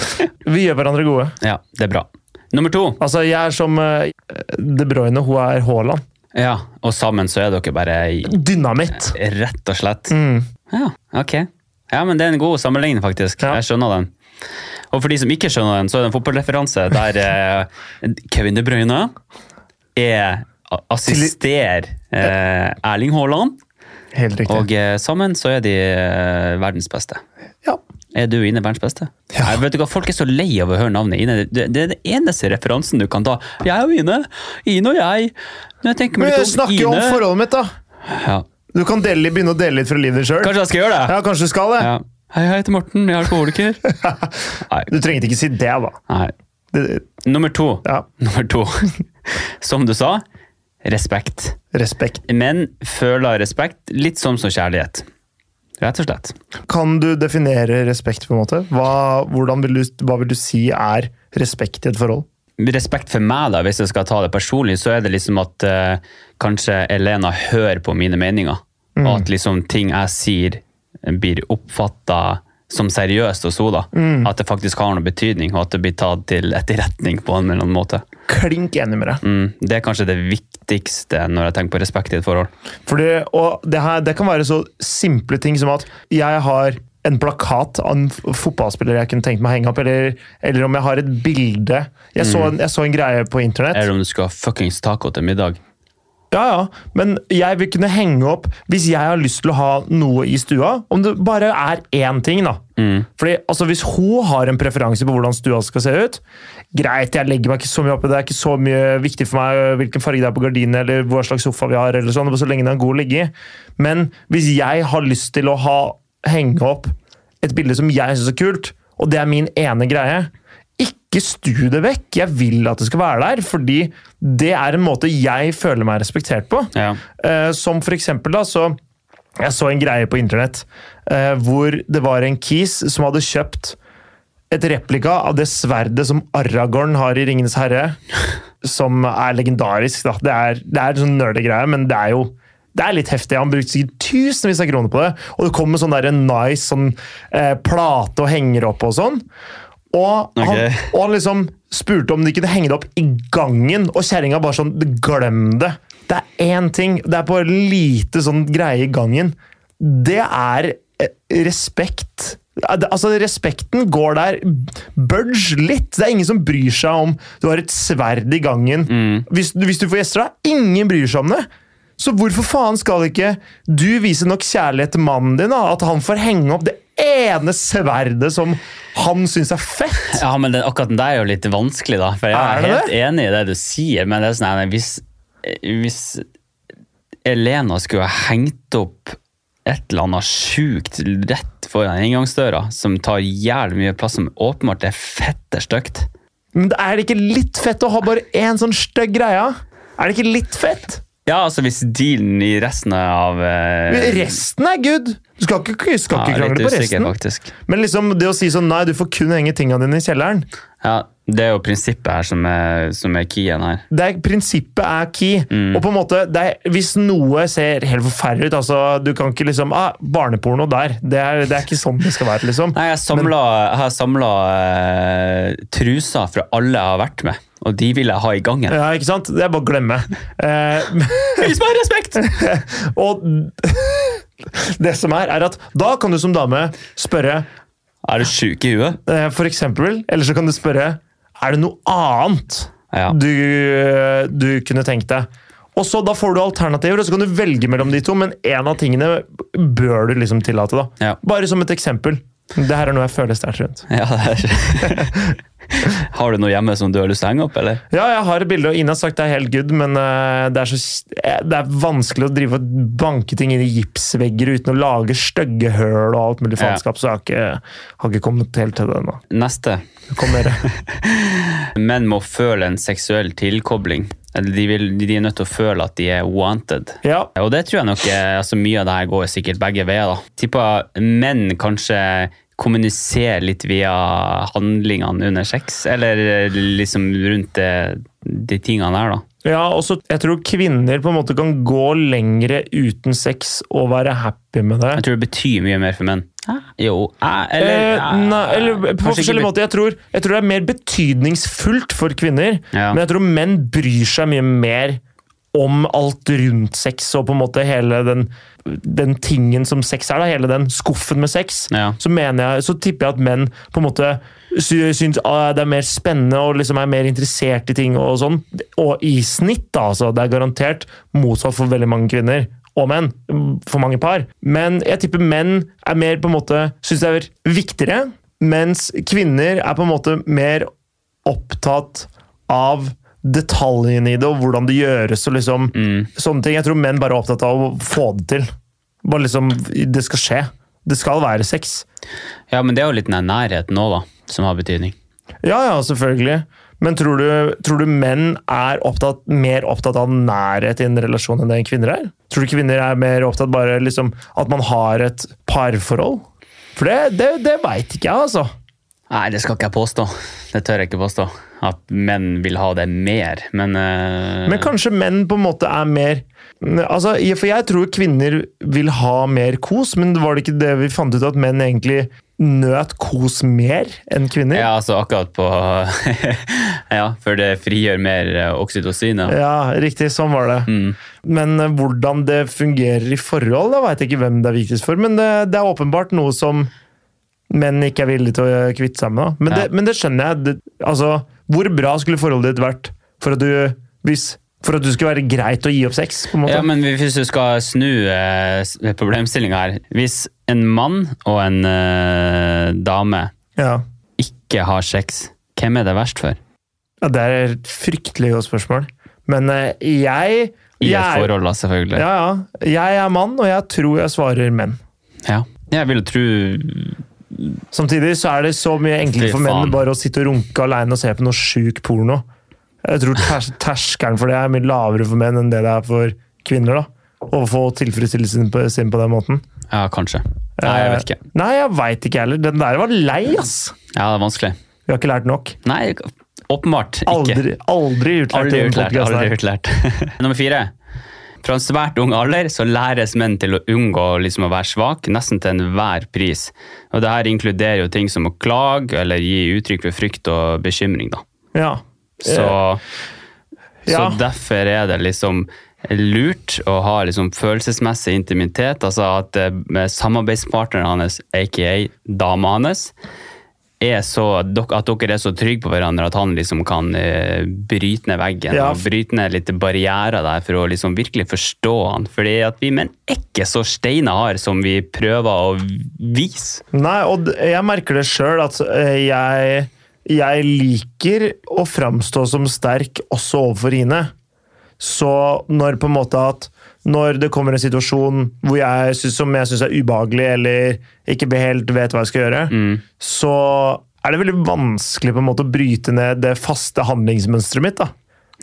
[SPEAKER 1] Vi gjør hverandre gode.
[SPEAKER 2] Ja, det er bra. Nummer to.
[SPEAKER 1] Altså, jeg er som eh, De Bruyne, hun er Haaland.
[SPEAKER 2] Ja, og sammen så er dere bare i-
[SPEAKER 1] Dynamitt!
[SPEAKER 2] rett og slett.
[SPEAKER 1] Mm.
[SPEAKER 2] Ja, ok. Ja, men det er en god sammenligning, faktisk.
[SPEAKER 1] Ja.
[SPEAKER 2] Jeg skjønner den. Og for de som ikke skjønner den, så er det en fotballreferanse der eh, Kevin De Bruyne er assisterer eh, Erling Haaland,
[SPEAKER 1] Helt riktig.
[SPEAKER 2] og eh, sammen så er de eh, verdens beste.
[SPEAKER 1] ja.
[SPEAKER 2] Er du Ine verdens beste?
[SPEAKER 1] Ja.
[SPEAKER 2] Jeg vet du hva, Folk er så lei av å høre navnet Ine. Det, det er den eneste referansen du kan ta. Jeg og Ine. Ine og jeg. Når jeg tenker
[SPEAKER 1] Men
[SPEAKER 2] meg
[SPEAKER 1] jeg
[SPEAKER 2] litt om
[SPEAKER 1] snakker jo om
[SPEAKER 2] Ine
[SPEAKER 1] forholdet mitt, da.
[SPEAKER 2] ja.
[SPEAKER 1] Du kan dele, begynne å dele litt fra livet ditt sjøl.
[SPEAKER 2] Kanskje jeg skal gjøre det?
[SPEAKER 1] Ja, kanskje du skal det.
[SPEAKER 2] Ja. Hei, jeg heter Morten. Jeg er alkoholiker. Nei.
[SPEAKER 1] Du trengte ikke si det, da.
[SPEAKER 2] Nei.
[SPEAKER 1] Det,
[SPEAKER 2] Nummer to.
[SPEAKER 1] ja,
[SPEAKER 2] Nummer to. Som du sa, respekt.
[SPEAKER 1] respekt.
[SPEAKER 2] Men føler respekt litt som som kjærlighet. Rett og slett.
[SPEAKER 1] Kan du definere respekt, på en måte? Hva, hvordan vil du, hva vil du si er respekt i et forhold?
[SPEAKER 2] Respekt for meg, da, hvis jeg skal ta det personlig, så er det liksom at eh, kanskje Elena hører på mine meninger. Og at liksom ting jeg sier, blir oppfatta som seriøst hos henne. da. At det faktisk har noe betydning, og at det blir tatt til etterretning på en eller annen måte.
[SPEAKER 1] Klink enig med deg.
[SPEAKER 2] Mm, det er kanskje det viktigste når jeg tenker på respekt i et forhold.
[SPEAKER 1] Fordi, og det, her, det kan være så simple ting som at jeg har en plakat av en f- fotballspiller jeg kunne tenkt meg å henge opp, eller, eller om jeg har et bilde. Jeg så, en, jeg så en greie på internett.
[SPEAKER 2] Eller om du skal ha fuckings taco til middag.
[SPEAKER 1] Ja, ja, men jeg vil kunne henge opp hvis jeg har lyst til å ha noe i stua. Om det bare er én ting, da. Fordi, altså, Hvis hun har en preferanse på hvordan stua skal se ut Greit, jeg legger meg ikke så mye opp i det. Det er ikke så mye viktig for meg øh, hvilken farge det er på gardinene eller hva slags sofa vi har. eller sånn, bare så lenge den er god å ligge i. Men hvis jeg har lyst til å ha, henge opp et bilde som jeg syns er kult, og det er min ene greie ikke stu det vekk. Jeg vil at det skal være der, fordi det er en måte jeg føler meg respektert på.
[SPEAKER 2] Ja.
[SPEAKER 1] Eh, som for eksempel da, så jeg så en greie på internett eh, hvor det var en kis som hadde kjøpt et replika av det sverdet som Aragorn har i Ringenes herre, som er legendarisk. da. Det er, det er en sånn nerdegreie, men det er jo det er litt heftig. Han brukte sikkert tusenvis av kroner på det. Og det kommer sånn der en nice sånn, eh, plate og henger opp og sånn. Og han,
[SPEAKER 2] Ok.
[SPEAKER 1] og han liksom spurte om de kunne henge det opp i gangen, og kjerringa bare sånn Glem det! Det er én ting. Det er bare lite sånn greie i gangen. Det er eh, respekt. Ja, det- Altså, respekten går der. Budge litt! Det er ingen som bryr seg om du har et sverd i gangen. Hvis, hvis du får gjester, da. Ingen bryr seg om det! Så hvorfor faen skal ikke du vise nok kjærlighet til mannen din, da? At han får henge opp det ene sverdet som han syns er fett?
[SPEAKER 2] Ja, men den, akkurat den der er jo litt vanskelig, da. For jeg
[SPEAKER 1] Er
[SPEAKER 2] er,
[SPEAKER 1] det
[SPEAKER 2] helt enig i det du sier, men det er sånn nei, nei, hvis, eh, hvis Elena skulle ha hengt opp et eller annet sjukt rett foran inngangsdøra, som tar jævlig mye plass, som åpenbart er fette stygt
[SPEAKER 1] Men er det ikke litt fett å ha bare én sånn stygg greie? Er det ikke litt fett?
[SPEAKER 2] Ja, altså hvis dealen i resten av eh,
[SPEAKER 1] Resten er good! Du skal ikke, skal ikke
[SPEAKER 2] ja, litt
[SPEAKER 1] krangle på
[SPEAKER 2] usikker,
[SPEAKER 1] resten.
[SPEAKER 2] faktisk.
[SPEAKER 1] Men liksom det å si sånn nei, du får kun henge tinga dine i kjelleren,
[SPEAKER 2] Ja, det er jo prinsippet her som er, som er keyen her.
[SPEAKER 1] det er, prinsippet er key.
[SPEAKER 2] Mm.
[SPEAKER 1] Og på en måte, det er, Hvis noe ser helt forferdelig ut altså, Du kan ikke liksom ah, Barneporno der. Det er, det er ikke sånn det skal være. liksom.
[SPEAKER 2] Nei, jeg, samla, jeg har samla truser fra alle jeg har vært med, og de vil jeg ha i gangen.
[SPEAKER 1] Ja, ikke sant? Det er bare å glemme. Eh,
[SPEAKER 2] Vis meg respekt!
[SPEAKER 1] og det som er, er at da kan du som dame spørre
[SPEAKER 2] Er du sjuk i huet?
[SPEAKER 1] Eh, For eksempel, eller så kan du spørre Er det noe annet
[SPEAKER 2] Ja.
[SPEAKER 1] du, eh, du kunne tenkt deg? Og så Da får du alternativer, og så kan du velge mellom de to, men én av tingene bør du liksom tillate. da.
[SPEAKER 2] Ja.
[SPEAKER 1] Bare som et eksempel. Det her er noe jeg føler sterkt rundt.
[SPEAKER 2] Ja, det er. Har du noe hjemme som du har lyst til å henge opp, eller?
[SPEAKER 1] Ja, jeg har et bilde, og Ina har sagt det er helt good, men eh, det, er så, eh, det er vanskelig å drive og banke ting inn i gipsvegger uten å lage stygge høl og alt mulig
[SPEAKER 2] Ja.
[SPEAKER 1] faenskap, så jeg har ikke, har ikke kommet helt til det ennå.
[SPEAKER 2] Neste.
[SPEAKER 1] Kom dere.
[SPEAKER 2] Menn må føle en seksuell tilkobling. Eller De, vil, de er nødt til å føle at de er wanted.
[SPEAKER 1] Ja.
[SPEAKER 2] Og det tror jeg nok eh, altså Mye av det her går sikkert begge veier. da. Tipper menn kanskje kommuniserer litt via handlingene under sex, eller liksom rundt det, de tingene der, da.
[SPEAKER 1] Ja, også, jeg tror kvinner på en måte kan gå lengre uten sex og være happy med det.
[SPEAKER 2] Jeg tror det betyr mye mer for menn. Jo, eh, eller,
[SPEAKER 1] Eh, nei, eller på
[SPEAKER 2] kanskje ikke
[SPEAKER 1] forskjellige måter. Jeg tror, jeg tror det er mer betydningsfullt for kvinner,
[SPEAKER 2] Ja.
[SPEAKER 1] men jeg tror menn bryr seg mye mer om alt rundt sex og på en måte hele den, den tingen som sex er, da, hele den skuffen med sex,
[SPEAKER 2] Ja.
[SPEAKER 1] så, mener jeg, så tipper jeg at menn på en måte sy- syns ah, det er mer spennende og liksom er mer interessert i ting og sånn. Og i snitt, da, altså. Det er garantert motsatt for veldig mange kvinner. Og menn. For mange par. Men jeg tipper menn er mer på en måte syns det er viktigere, mens kvinner er på en måte mer opptatt av detaljene i det, og hvordan det gjøres og liksom sånne ting. Jeg tror menn bare er opptatt av å få det til. Bare liksom Det skal skje. Det skal være sex.
[SPEAKER 2] Ja, men det er jo litt den der nærheten òg, da, som har betydning.
[SPEAKER 1] Ja, ja, selvfølgelig. Men tror du, tror du menn er opptatt, mer opptatt av nærhet i en relasjon enn det kvinner er? Tror du kvinner er mer opptatt bare liksom at man har et parforhold? For det, det, det veit ikke jeg, altså.
[SPEAKER 2] Nei, det skal ikke jeg påstå. Det tør jeg ikke påstå. At menn vil ha det mer, men, eh,
[SPEAKER 1] Men kanskje menn på en måte er mer Altså, jeg- For jeg tror kvinner vil ha mer kos, men var det ikke det vi fant ut at menn egentlig nøt kos mer enn kvinner?
[SPEAKER 2] Ja, altså akkurat på Ja, for det frigjør mer eh, oksytocin. Ja.
[SPEAKER 1] Ja, riktig. Sånn var det.
[SPEAKER 2] Mm.
[SPEAKER 1] Men eh, hvordan det fungerer i forhold, da veit jeg ikke hvem det er viktigst for. Men det, det er åpenbart noe som menn ikke er villige til å eh, kvitte seg med. Da. Men,
[SPEAKER 2] Ja.
[SPEAKER 1] det, men det skjønner jeg. Det, altså, hvor bra skulle forholdet ditt vært for at du, hvis, for at du skulle være greit å gi opp sex? på en måte?
[SPEAKER 2] Ja, men hvis du skal snu eh, problemstillinga her Hvis en mann og en eh, dame
[SPEAKER 1] ja.
[SPEAKER 2] ikke har sex, hvem er det verst for?
[SPEAKER 1] Ja, det er et fryktelig godt spørsmål. Men eh, jeg,
[SPEAKER 2] I
[SPEAKER 1] jeg
[SPEAKER 2] et
[SPEAKER 1] er-
[SPEAKER 2] forhold, da, selvfølgelig.
[SPEAKER 1] Ja, ja. Jeg er mann, og jeg tror jeg svarer menn.
[SPEAKER 2] Ja. Jeg vil jo tro
[SPEAKER 1] Samtidig så er det så mye enklere for
[SPEAKER 2] Fy faen.
[SPEAKER 1] menn bare å sitte og runke alene og se på noe sjuk porno. Jeg tror ters terskelen for det er mye lavere for menn enn det det er for kvinner. da. Å få tilfredsstillelsen på, sin på den måten.
[SPEAKER 2] Ja, kanskje. Nei, jeg vet ikke.
[SPEAKER 1] Eh, Nei, jeg veit ikke heller. Den der var lei, ass!
[SPEAKER 2] Ja, det er vanskelig.
[SPEAKER 1] Vi har ikke lært nok.
[SPEAKER 2] Nei, åpenbart ikke.
[SPEAKER 1] Aldri, aldri utlært. i
[SPEAKER 2] Aldri
[SPEAKER 1] den
[SPEAKER 2] utlært.
[SPEAKER 1] podcasten
[SPEAKER 2] Aldri
[SPEAKER 1] her.
[SPEAKER 2] utlært. Nummer fire. Fra en svært ung alder så læres menn til å unngå liksom å være svak, nesten til enhver pris. Og det her inkluderer jo ting som å klage eller gi uttrykk for frykt og bekymring. Da.
[SPEAKER 1] Ja. Eh,
[SPEAKER 2] Så, så
[SPEAKER 1] Ja.
[SPEAKER 2] derfor er det liksom lurt å ha liksom følelsesmessig intimitet, altså at eh, samarbeidspartneren hans, aka dama hans, er så, dok- at dere er så trygge på hverandre at han liksom kan eh, bryte ned veggen
[SPEAKER 1] Ja.
[SPEAKER 2] og bryte ned litt barrierer der for å liksom virkelig forstå han. Fordi at vi menn er ikke så steina hard som vi prøver å vise.
[SPEAKER 1] Nei, og d- jeg merker det sjøl at eh, jeg, jeg liker å framstå som sterk også overfor Ine. Så når på en måte at når det kommer en situasjon hvor jeg synes, som jeg syns er ubehagelig, eller ikke helt vet hva jeg skal gjøre,
[SPEAKER 2] Mm.
[SPEAKER 1] så er det veldig vanskelig på en måte å bryte ned det faste handlingsmønsteret mitt. da.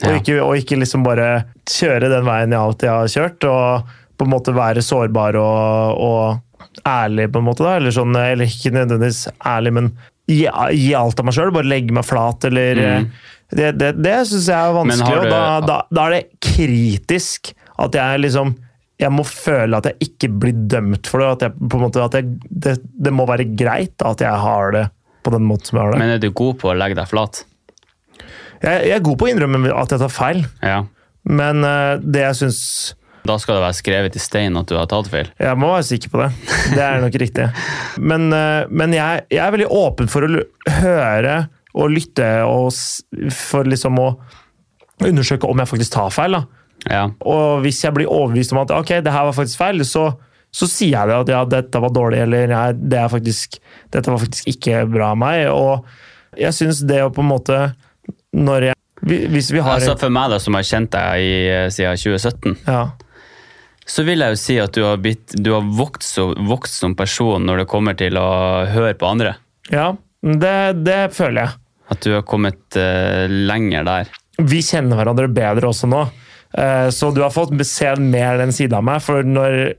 [SPEAKER 1] Og,
[SPEAKER 2] Ja.
[SPEAKER 1] ikke, og ikke liksom bare kjøre den veien jeg alltid har kjørt, og på en måte være sårbar og, og ærlig, på en måte. da, Eller, sånn, eller ikke nødvendigvis ærlig, men gi, gi alt av meg sjøl. Bare legge meg flat, eller eh, Det, det, det syns jeg er
[SPEAKER 2] Mm. Men
[SPEAKER 1] vanskelig.
[SPEAKER 2] har
[SPEAKER 1] og
[SPEAKER 2] du-
[SPEAKER 1] da, da, da er det kritisk at jeg liksom jeg må føle at jeg ikke blir dømt for det. At jeg, på en måte, at jeg, det, det må være greit da, at jeg har det på den måten som jeg har det.
[SPEAKER 2] Men er du god på å legge deg flat?
[SPEAKER 1] jeg, jeg er god på å innrømme at jeg tar feil,
[SPEAKER 2] Ja.
[SPEAKER 1] men eh, det jeg syns
[SPEAKER 2] Da skal det være skrevet i stein at du har tatt feil.
[SPEAKER 1] Jeg må være sikker på det. Det er nok riktig. Men, eh, men jeg, jeg er veldig åpen for å l- høre og lytte og s- for liksom å undersøke om jeg faktisk tar feil. da.
[SPEAKER 2] Ja.
[SPEAKER 1] Og hvis jeg blir overbevist om at ok, det her var faktisk feil, så, så sier jeg det at ja, dette var dårlig, eller nei, det er faktisk, dette var faktisk ikke bra av meg. Og jeg syns det å på en måte Når jeg hvi- Hvis vi har
[SPEAKER 2] Altså For meg, da, som har kjent deg i, eh, siden 2017,
[SPEAKER 1] ja,
[SPEAKER 2] så vil jeg jo si at du har, blitt, du har vokst, så, vokst som person når det kommer til å høre på andre.
[SPEAKER 1] ja det, det føler jeg.
[SPEAKER 2] At du har kommet eh, lenger der.
[SPEAKER 1] vi kjenner hverandre bedre også nå. Eh, Så du har fått se mer den siden av meg. For når,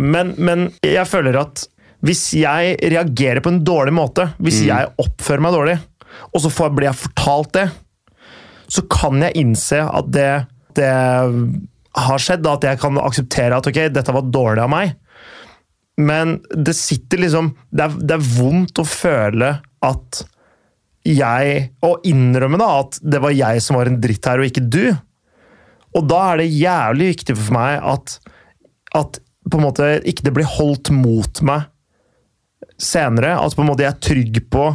[SPEAKER 1] men, men jeg føler at hvis jeg reagerer på en dårlig måte, hvis jeg oppfører meg dårlig, og så får, blir jeg fortalt det, så kan jeg innse at det, det har skjedd, da, at jeg kan akseptere at ok, dette var dårlig av meg. Men det sitter liksom Det er, det er vondt å føle at jeg Å innrømme da at det var jeg som var en dritt her, og ikke du. Og da er det jævlig viktig for meg at, at på en måte ikke det blir holdt mot meg senere. At på en måte jeg er trygg på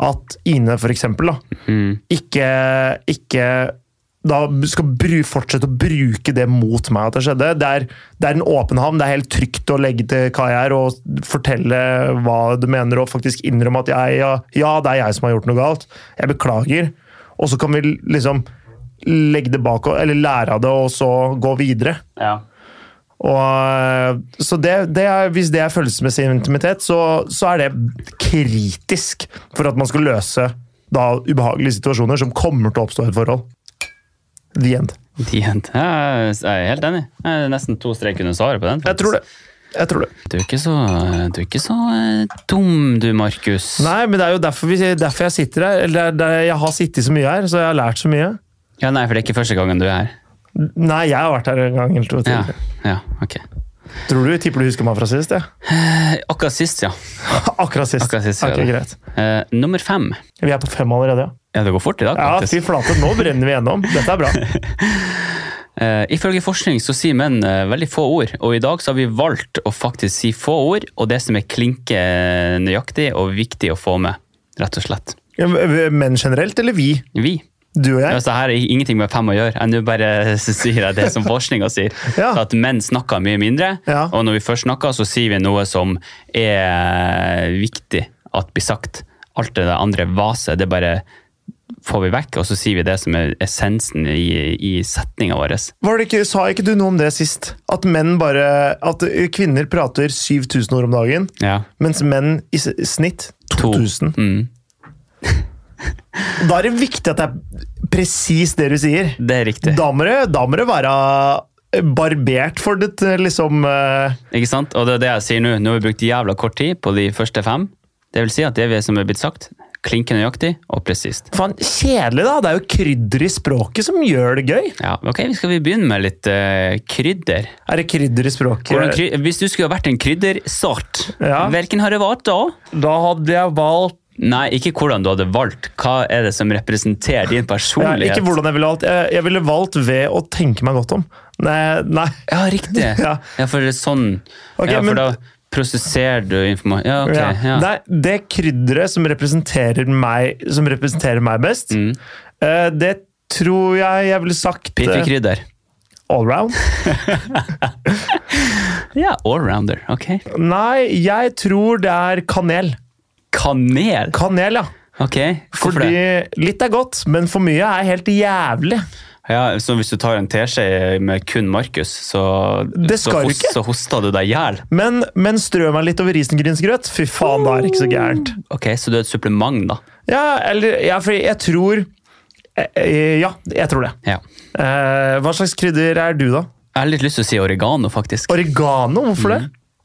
[SPEAKER 1] at Ine, for eksempel, da, ikke, ikke da skal bru, fortsette å bruke det mot meg at det skjedde. Det er, det er en åpen havn. Det er helt trygt å legge til hva jeg er og fortelle hva du mener, og faktisk innrømme at jeg, ja, ja, det er jeg som har gjort noe galt. Jeg beklager. Og så kan vi liksom legge det bak, eller lære av det, og så gå videre.
[SPEAKER 2] Ja.
[SPEAKER 1] Og, eh, så det, det er, hvis det er følelsesmessig intimitet, så, så er det kritisk for at man skal løse da ubehagelige situasjoner som kommer til å oppstå i et forhold. The end.
[SPEAKER 2] De jent- Ja, jeg er helt enig. Jeg er nesten to strek under svaret på den.
[SPEAKER 1] Jeg tror det. Jeg tror det.
[SPEAKER 2] Du er ikke så, du er ikke så eh, dum, du, Markus.
[SPEAKER 1] Nei, men det er jo derfor, vi, derfor jeg sitter her. Eller det er, det er, jeg har sittet så mye her, så jeg har lært så mye.
[SPEAKER 2] Ja, nei, for det er ikke første gangen du er her.
[SPEAKER 1] Nei, jeg har vært her en gang eller to.
[SPEAKER 2] Ja,
[SPEAKER 1] til.
[SPEAKER 2] ja ok.
[SPEAKER 1] Tror du tipper du husker meg fra sist? Ja?
[SPEAKER 2] Eh, Akkurat sist, ja.
[SPEAKER 1] Akkurat sist.
[SPEAKER 2] Akkurat sist, ja,
[SPEAKER 1] Ok,
[SPEAKER 2] det.
[SPEAKER 1] greit.
[SPEAKER 2] Eh, nummer fem.
[SPEAKER 1] Vi er på fem allerede, ja.
[SPEAKER 2] Ja, det går fort i dag,
[SPEAKER 1] Ja, fy
[SPEAKER 2] faktisk.
[SPEAKER 1] flate, nå brenner vi gjennom. Dette er bra.
[SPEAKER 2] Eh, ifølge forskning så sier menn eh, veldig få ord, og i dag så har vi valgt å faktisk si få ord, og det som er klinke eh, nøyaktig og viktig å få med, rett og slett.
[SPEAKER 1] Ja, Menn generelt, eller vi?
[SPEAKER 2] Vi.
[SPEAKER 1] Du og jeg?
[SPEAKER 2] Altså, her er ingenting med fem å gjøre. Jeg nå bare sier jeg det som forskninga sier.
[SPEAKER 1] Ja.
[SPEAKER 2] At menn snakker mye mindre,
[SPEAKER 1] Ja.
[SPEAKER 2] og når vi først snakker, så sier vi noe som er eh, viktig at blir sagt. Alt det der andre vaset, det bare får vi vekk, og så sier vi det som er essensen i, i setninga vår.
[SPEAKER 1] Var det ikke, sa ikke du noe om det sist? At menn bare At kvinner prater 7000 ord om dagen,
[SPEAKER 2] Ja.
[SPEAKER 1] mens menn i s- snitt
[SPEAKER 2] To.
[SPEAKER 1] 2000.
[SPEAKER 2] Mm.
[SPEAKER 1] Da er det viktig at det er presis det du sier.
[SPEAKER 2] Det er riktig.
[SPEAKER 1] Da må det, da må det være eh, barbert for ditt eh, liksom eh,
[SPEAKER 2] Ikke sant? Og det er det jeg sier nå. Nå har vi brukt jævla kort tid på de første fem. Det vil si at det vi- som er blitt sagt, klinker nøyaktig og presist.
[SPEAKER 1] Faen, kjedelig, da! Det er jo krydder i språket som gjør det gøy.
[SPEAKER 2] Ja, ok, vi skal vi begynne med litt eh, krydder.
[SPEAKER 1] Er det krydder i
[SPEAKER 2] Hvordan
[SPEAKER 1] språket?
[SPEAKER 2] kry Hvis du skulle ha vært en kryddersort,
[SPEAKER 1] Ja.
[SPEAKER 2] hvilken har det vært da?
[SPEAKER 1] Da hadde jeg valgt
[SPEAKER 2] Nei, ikke hvordan du hadde valgt. Hva er det som representerer din
[SPEAKER 1] ja,
[SPEAKER 2] personlighet?
[SPEAKER 1] Ikke hvordan jeg ville valgt. Jeg, jeg ville valgt ved å tenke meg godt om. Nei, nei.
[SPEAKER 2] Ja, riktig. ja.
[SPEAKER 1] Ja.
[SPEAKER 2] for det er sånn.
[SPEAKER 1] Ok,
[SPEAKER 2] ja, for
[SPEAKER 1] men-
[SPEAKER 2] da prosesserer du informasjon. Ja, ok.
[SPEAKER 1] Ja.
[SPEAKER 2] Ja.
[SPEAKER 1] Nei, det krydderet som representerer meg, som representerer meg best,
[SPEAKER 2] Mm.
[SPEAKER 1] eh, det tror jeg jeg ville sagt eh,
[SPEAKER 2] Piffikrydder.
[SPEAKER 1] allround.
[SPEAKER 2] Ja, allrounder. Ok.
[SPEAKER 1] Nei, jeg tror det er kanel.
[SPEAKER 2] Kanel.
[SPEAKER 1] Kanel, ja.
[SPEAKER 2] Ok, hvorfor
[SPEAKER 1] Fordi
[SPEAKER 2] det?
[SPEAKER 1] litt er godt, men for mye er helt jævlig.
[SPEAKER 2] Ja, så hvis du tar en teskje med kun Markus, så,
[SPEAKER 1] Det skal
[SPEAKER 2] så,
[SPEAKER 1] du
[SPEAKER 2] hos-
[SPEAKER 1] ikke.
[SPEAKER 2] så hoster du deg i hjel.
[SPEAKER 1] Men, men strø meg litt over risengrynsgrøt. Fy faen, da er det ikke så gærent.
[SPEAKER 2] Ok, så du er et supplement, da.
[SPEAKER 1] Ja, eller ja, fordi jeg tror eh, eh, Ja, jeg tror det.
[SPEAKER 2] Ja.
[SPEAKER 1] Eh, hva slags krydder er du, da?
[SPEAKER 2] Jeg har litt lyst til å si oregano, faktisk.
[SPEAKER 1] Oregano? Hvorfor det?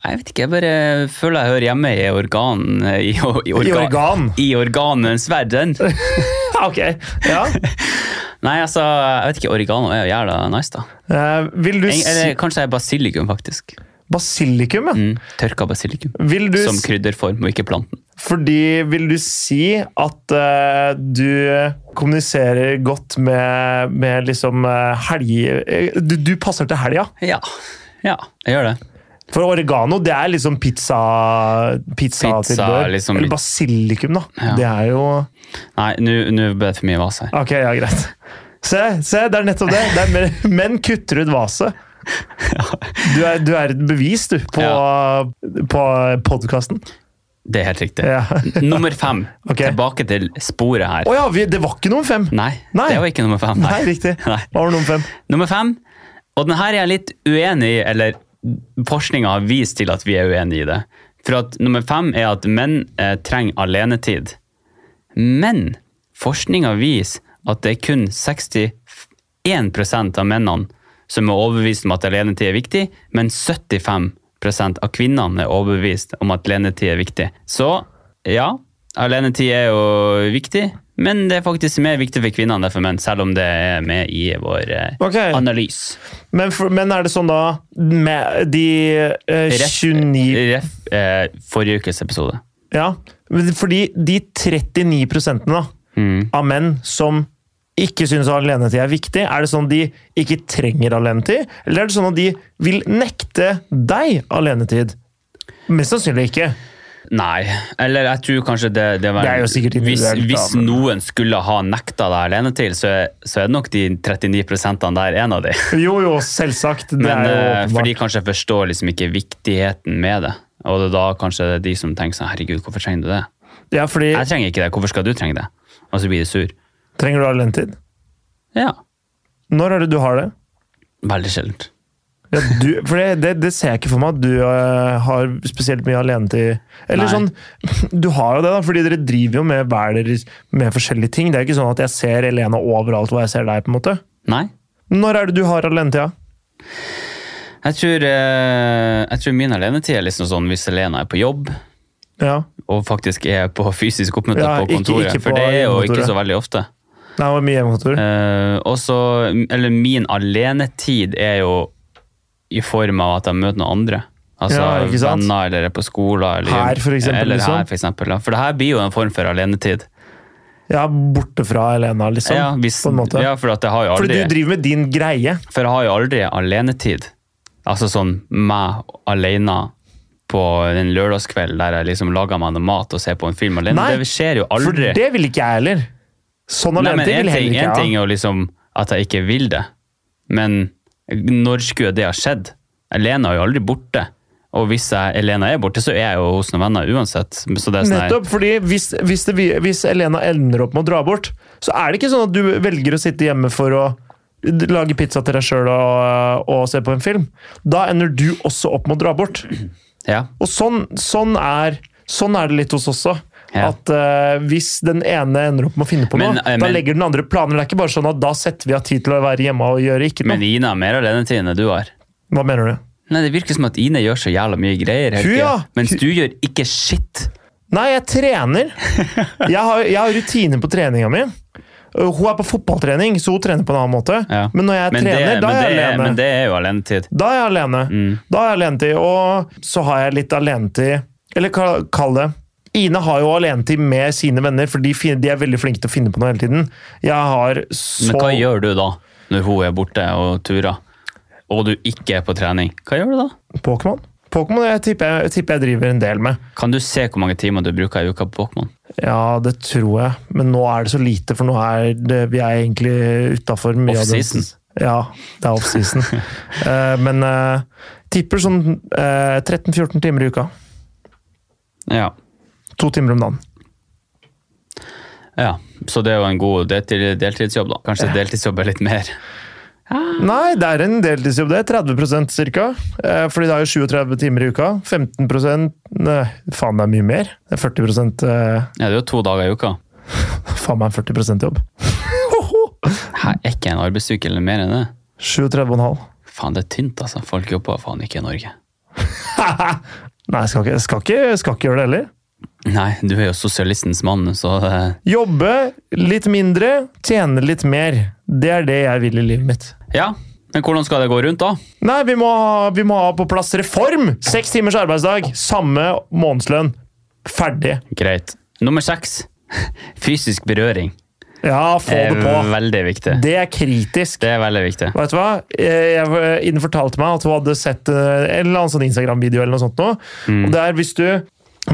[SPEAKER 2] Jeg vet ikke, jeg bare føler jeg hører hjemme i organ... I, o- i
[SPEAKER 1] I
[SPEAKER 2] organ.
[SPEAKER 1] organ?
[SPEAKER 2] I organens verden.
[SPEAKER 1] Ok, ja.
[SPEAKER 2] Nei, altså, jeg vet ikke, oregano er jo jævla nice, da.
[SPEAKER 1] Eh, vil du
[SPEAKER 2] Eng-
[SPEAKER 1] si
[SPEAKER 2] Eller kanskje det er basilikum, faktisk.
[SPEAKER 1] Basilikum, ja.
[SPEAKER 2] Mm, tørka basilikum.
[SPEAKER 1] Vil du,
[SPEAKER 2] Som
[SPEAKER 1] s-
[SPEAKER 2] krydderform, og ikke planten.
[SPEAKER 1] fordi vil du si at eh, du kommuniserer godt med, med liksom eh, helge... eh, Du, du passer til helga.
[SPEAKER 2] Ja. Ja, jeg gjør det.
[SPEAKER 1] For oregano, det er liksom pizza pizza,
[SPEAKER 2] Pizza, liksom-
[SPEAKER 1] Eller basilikum, da.
[SPEAKER 2] Ja.
[SPEAKER 1] Det er jo
[SPEAKER 2] Nei, nå nå ble det for mye vas her.
[SPEAKER 1] Ok, ja, greit. Se, se det er nettopp det. det er mer, menn kutter ut vaset. Du er, du er et bevis, du, på, på podkasten.
[SPEAKER 2] Det er helt riktig.
[SPEAKER 1] Ja.
[SPEAKER 2] Nummer fem.
[SPEAKER 1] Ok.
[SPEAKER 2] Tilbake til sporet her.
[SPEAKER 1] Å ja, vi, det var ikke noen fem!
[SPEAKER 2] Nei,
[SPEAKER 1] Nei.
[SPEAKER 2] det var ikke nummer fem.
[SPEAKER 1] Nei, riktig.
[SPEAKER 2] Nei.
[SPEAKER 1] Hva var nummer fem?
[SPEAKER 2] Nummer fem, og den her er jeg litt uenig i, eller forskninga har vist til at vi er uenig i det. For at nummer fem er at menn eh, trenger alenetid. Men forskninga viser at det er kun 61 av mennene som er overbevist om at alenetid er viktig, men 75 av kvinnene er overbevist om at alenetid er viktig. Så ja, alenetid er jo viktig, men det er faktisk mer viktig for kvinnene enn det er for menn, selv om det er med i vår eh,
[SPEAKER 1] Ok.
[SPEAKER 2] analyse.
[SPEAKER 1] Men, for, men er det sånn da med de eh,
[SPEAKER 2] Ref-
[SPEAKER 1] 29
[SPEAKER 2] Ref, eh, forrige ukes episode. Mm.
[SPEAKER 1] Ja, men fordi de 39 da, av menn som ikke syns alenetid er viktig? Er det sånn at de ikke trenger alenetid? Eller er det sånn at de vil nekte deg alenetid? Mest sannsynlig ikke.
[SPEAKER 2] Nei. Eller jeg tror kanskje det, det, var,
[SPEAKER 1] Det er jo sikkert
[SPEAKER 2] hvis,
[SPEAKER 1] individuelt, da,
[SPEAKER 2] hvis
[SPEAKER 1] men-
[SPEAKER 2] noen skulle ha nekta deg alene til, så, er- så er det nok de 39 der en av de.
[SPEAKER 1] Jo, jo, selvsagt. Det
[SPEAKER 2] Men eh,
[SPEAKER 1] er jo
[SPEAKER 2] fordi
[SPEAKER 1] åpenbart.
[SPEAKER 2] kanskje jeg forstår liksom ikke viktigheten med det. Og det er da kanskje det er de som tenker sånn Herregud, hvorfor trenger du det?
[SPEAKER 1] Ja, fordi
[SPEAKER 2] Jeg trenger ikke det. Hvorfor skal du trenge det? Og så blir de sur.
[SPEAKER 1] Trenger du alenetid?
[SPEAKER 2] Ja.
[SPEAKER 1] Når er det du har det?
[SPEAKER 2] Veldig sjeldent.
[SPEAKER 1] Ja, du, for det, det, det ser jeg ikke for meg at du eh, har spesielt mye alenetid. Eller
[SPEAKER 2] Nei.
[SPEAKER 1] sånn, du har jo det, da, fordi dere driver jo med hver deres med forskjellige ting. Det er jo ikke sånn at jeg ser Elena overalt hvor jeg ser deg. på en måte.
[SPEAKER 2] Nei.
[SPEAKER 1] Når er det du har alenetida?
[SPEAKER 2] Jeg tror, eh, jeg tror min alenetid er liksom sånn hvis Elena er på jobb,
[SPEAKER 1] Ja.
[SPEAKER 2] og faktisk er på fysisk oppmøte
[SPEAKER 1] Ja,
[SPEAKER 2] på
[SPEAKER 1] ikke-
[SPEAKER 2] kontoret.
[SPEAKER 1] ikke på
[SPEAKER 2] for det er jo ikke
[SPEAKER 1] hjemmekontoret.
[SPEAKER 2] så veldig ofte.
[SPEAKER 1] Nei, det var mye hjemmekontor.
[SPEAKER 2] Eh, og så, eller min alenetid er jo i form av at jeg møter noen andre. Altså
[SPEAKER 1] Ja, ikke sant?
[SPEAKER 2] venner, eller er på skolen. Eller,
[SPEAKER 1] Her, for eksempel,
[SPEAKER 2] Eller
[SPEAKER 1] liksom.
[SPEAKER 2] her, for eksempel. ja. For det her blir jo en form for alenetid.
[SPEAKER 1] Ja, borte fra Elena, liksom.
[SPEAKER 2] ja, hvis,
[SPEAKER 1] på en måte.
[SPEAKER 2] ja, for at jeg har jo
[SPEAKER 1] fordi
[SPEAKER 2] aldri,
[SPEAKER 1] du driver med din greie.
[SPEAKER 2] for jeg har jo aldri alenetid. Altså sånn meg alene på en lørdagskveld der jeg liksom lager meg noe mat og ser på en film alene.
[SPEAKER 1] Nei,
[SPEAKER 2] det skjer jo
[SPEAKER 1] For
[SPEAKER 2] aldri.
[SPEAKER 1] det vil ikke jeg heller. Sånn
[SPEAKER 2] Nei, men
[SPEAKER 1] alenetid
[SPEAKER 2] en
[SPEAKER 1] vil
[SPEAKER 2] ting,
[SPEAKER 1] heller
[SPEAKER 2] en
[SPEAKER 1] ikke
[SPEAKER 2] ting
[SPEAKER 1] jeg ha.
[SPEAKER 2] er jo liksom at jeg ikke vil det, men når skulle det ha skjedd? Elena er jo aldri borte. Og hvis jeg, Elena er borte, så er jeg jo hos noen venner uansett. Så det er sånn her-
[SPEAKER 1] Nettopp, fordi hvis, hvis, det, hvis Elena ender opp med å dra bort, så er det ikke sånn at du velger å sitte hjemme for å d- lage pizza til deg sjøl og, og se på en film. Da ender du også opp med å dra bort.
[SPEAKER 2] Ja,
[SPEAKER 1] Og sånn, sånn, er, sånn er det litt hos oss også.
[SPEAKER 2] Ja.
[SPEAKER 1] At eh, Hvis den ene ender opp med å finne på noe,
[SPEAKER 2] Men, eh,
[SPEAKER 1] da
[SPEAKER 2] men-
[SPEAKER 1] legger den andre planer. Det er ikke bare sånn at da setter vi av tid til å være hjemme og gjøre ikke
[SPEAKER 2] men
[SPEAKER 1] noe.
[SPEAKER 2] Ina er mer alenetid enn det du har.
[SPEAKER 1] Hva mener du?
[SPEAKER 2] Nei, Det virker som at Ine gjør så jævla mye greier, hele
[SPEAKER 1] Hun, ja.
[SPEAKER 2] tiden, mens du gjør ikke shit.
[SPEAKER 1] Nei, jeg trener. Jeg har, jeg har rutiner på treninga mi. Uh, Hun er på fotballtrening, så hun trener på en annen måte.
[SPEAKER 2] Ja.
[SPEAKER 1] Men når jeg trener,
[SPEAKER 2] det,
[SPEAKER 1] da
[SPEAKER 2] men,
[SPEAKER 1] er jeg
[SPEAKER 2] det,
[SPEAKER 1] alene.
[SPEAKER 2] men det Mm. er jo alenetid.
[SPEAKER 1] Da er jeg alene. Da er jeg alenetid. Og så har jeg litt alenetid Eller ka- kall det Ine har jo alenetid med sine venner, for de, fin- de er veldig flinke til å finne på noe hele tiden. Jeg har så
[SPEAKER 2] Men hva gjør du da, når hun er borte og turer, og du ikke er på trening? Hva gjør du da?
[SPEAKER 1] Pokémon? Pokémon jeg tipper jeg, tipper jeg driver en del med.
[SPEAKER 2] Kan du se hvor mange timer du bruker i uka på Pokémon?
[SPEAKER 1] Ja, det tror jeg. Men nå er det så lite, for nå er det, vi er egentlig utafor mye av det.
[SPEAKER 2] Off-season.
[SPEAKER 1] Ja, det er offseason. uh, men eh, tipper sånn eh, 13-14 timer i uka.
[SPEAKER 2] Ja.
[SPEAKER 1] To timer om dagen.
[SPEAKER 2] Ja, så det er jo en god deltid, deltidsjobb, da. Kanskje deltidsjobb er litt mer.
[SPEAKER 1] Nei, det er en deltidsjobb, det. 30 ca. Eh, fordi det er jo 37 timer i uka. 15 Nei, faen, det er mye mer. Det er 40 eh,
[SPEAKER 2] Ja, det er jo to dager i uka.
[SPEAKER 1] Faen meg en 40 jobb.
[SPEAKER 2] Her er ikke en arbeidsuke eller mer enn det.
[SPEAKER 1] 37,5.
[SPEAKER 2] Faen, det er tynt, altså. Folk jobber faen ikke i Norge.
[SPEAKER 1] Nei, jeg skal ikke, skal, ikke, skal ikke gjøre det heller.
[SPEAKER 2] Nei, du er jo sosialistens mann, så eh,
[SPEAKER 1] Jobbe litt mindre, tjene litt mer. Det er det jeg vil i livet mitt.
[SPEAKER 2] Ja. Men hvordan skal det gå rundt, da?
[SPEAKER 1] Nei, vi må, ha- vi må ha på plass reform! Seks timers arbeidsdag, samme månedslønn. Ferdig.
[SPEAKER 2] Greit. Nummer seks. Fysisk berøring.
[SPEAKER 1] Ja, få
[SPEAKER 2] er
[SPEAKER 1] det på.
[SPEAKER 2] veldig viktig.
[SPEAKER 1] Det er kritisk.
[SPEAKER 2] Det er veldig viktig.
[SPEAKER 1] Vet du hva? Eh, Jeg, Ine fortalte meg at hun hadde sett eh, en eller annen sånn Instagram-video eller noe sånt. Nå. Og det er hvis du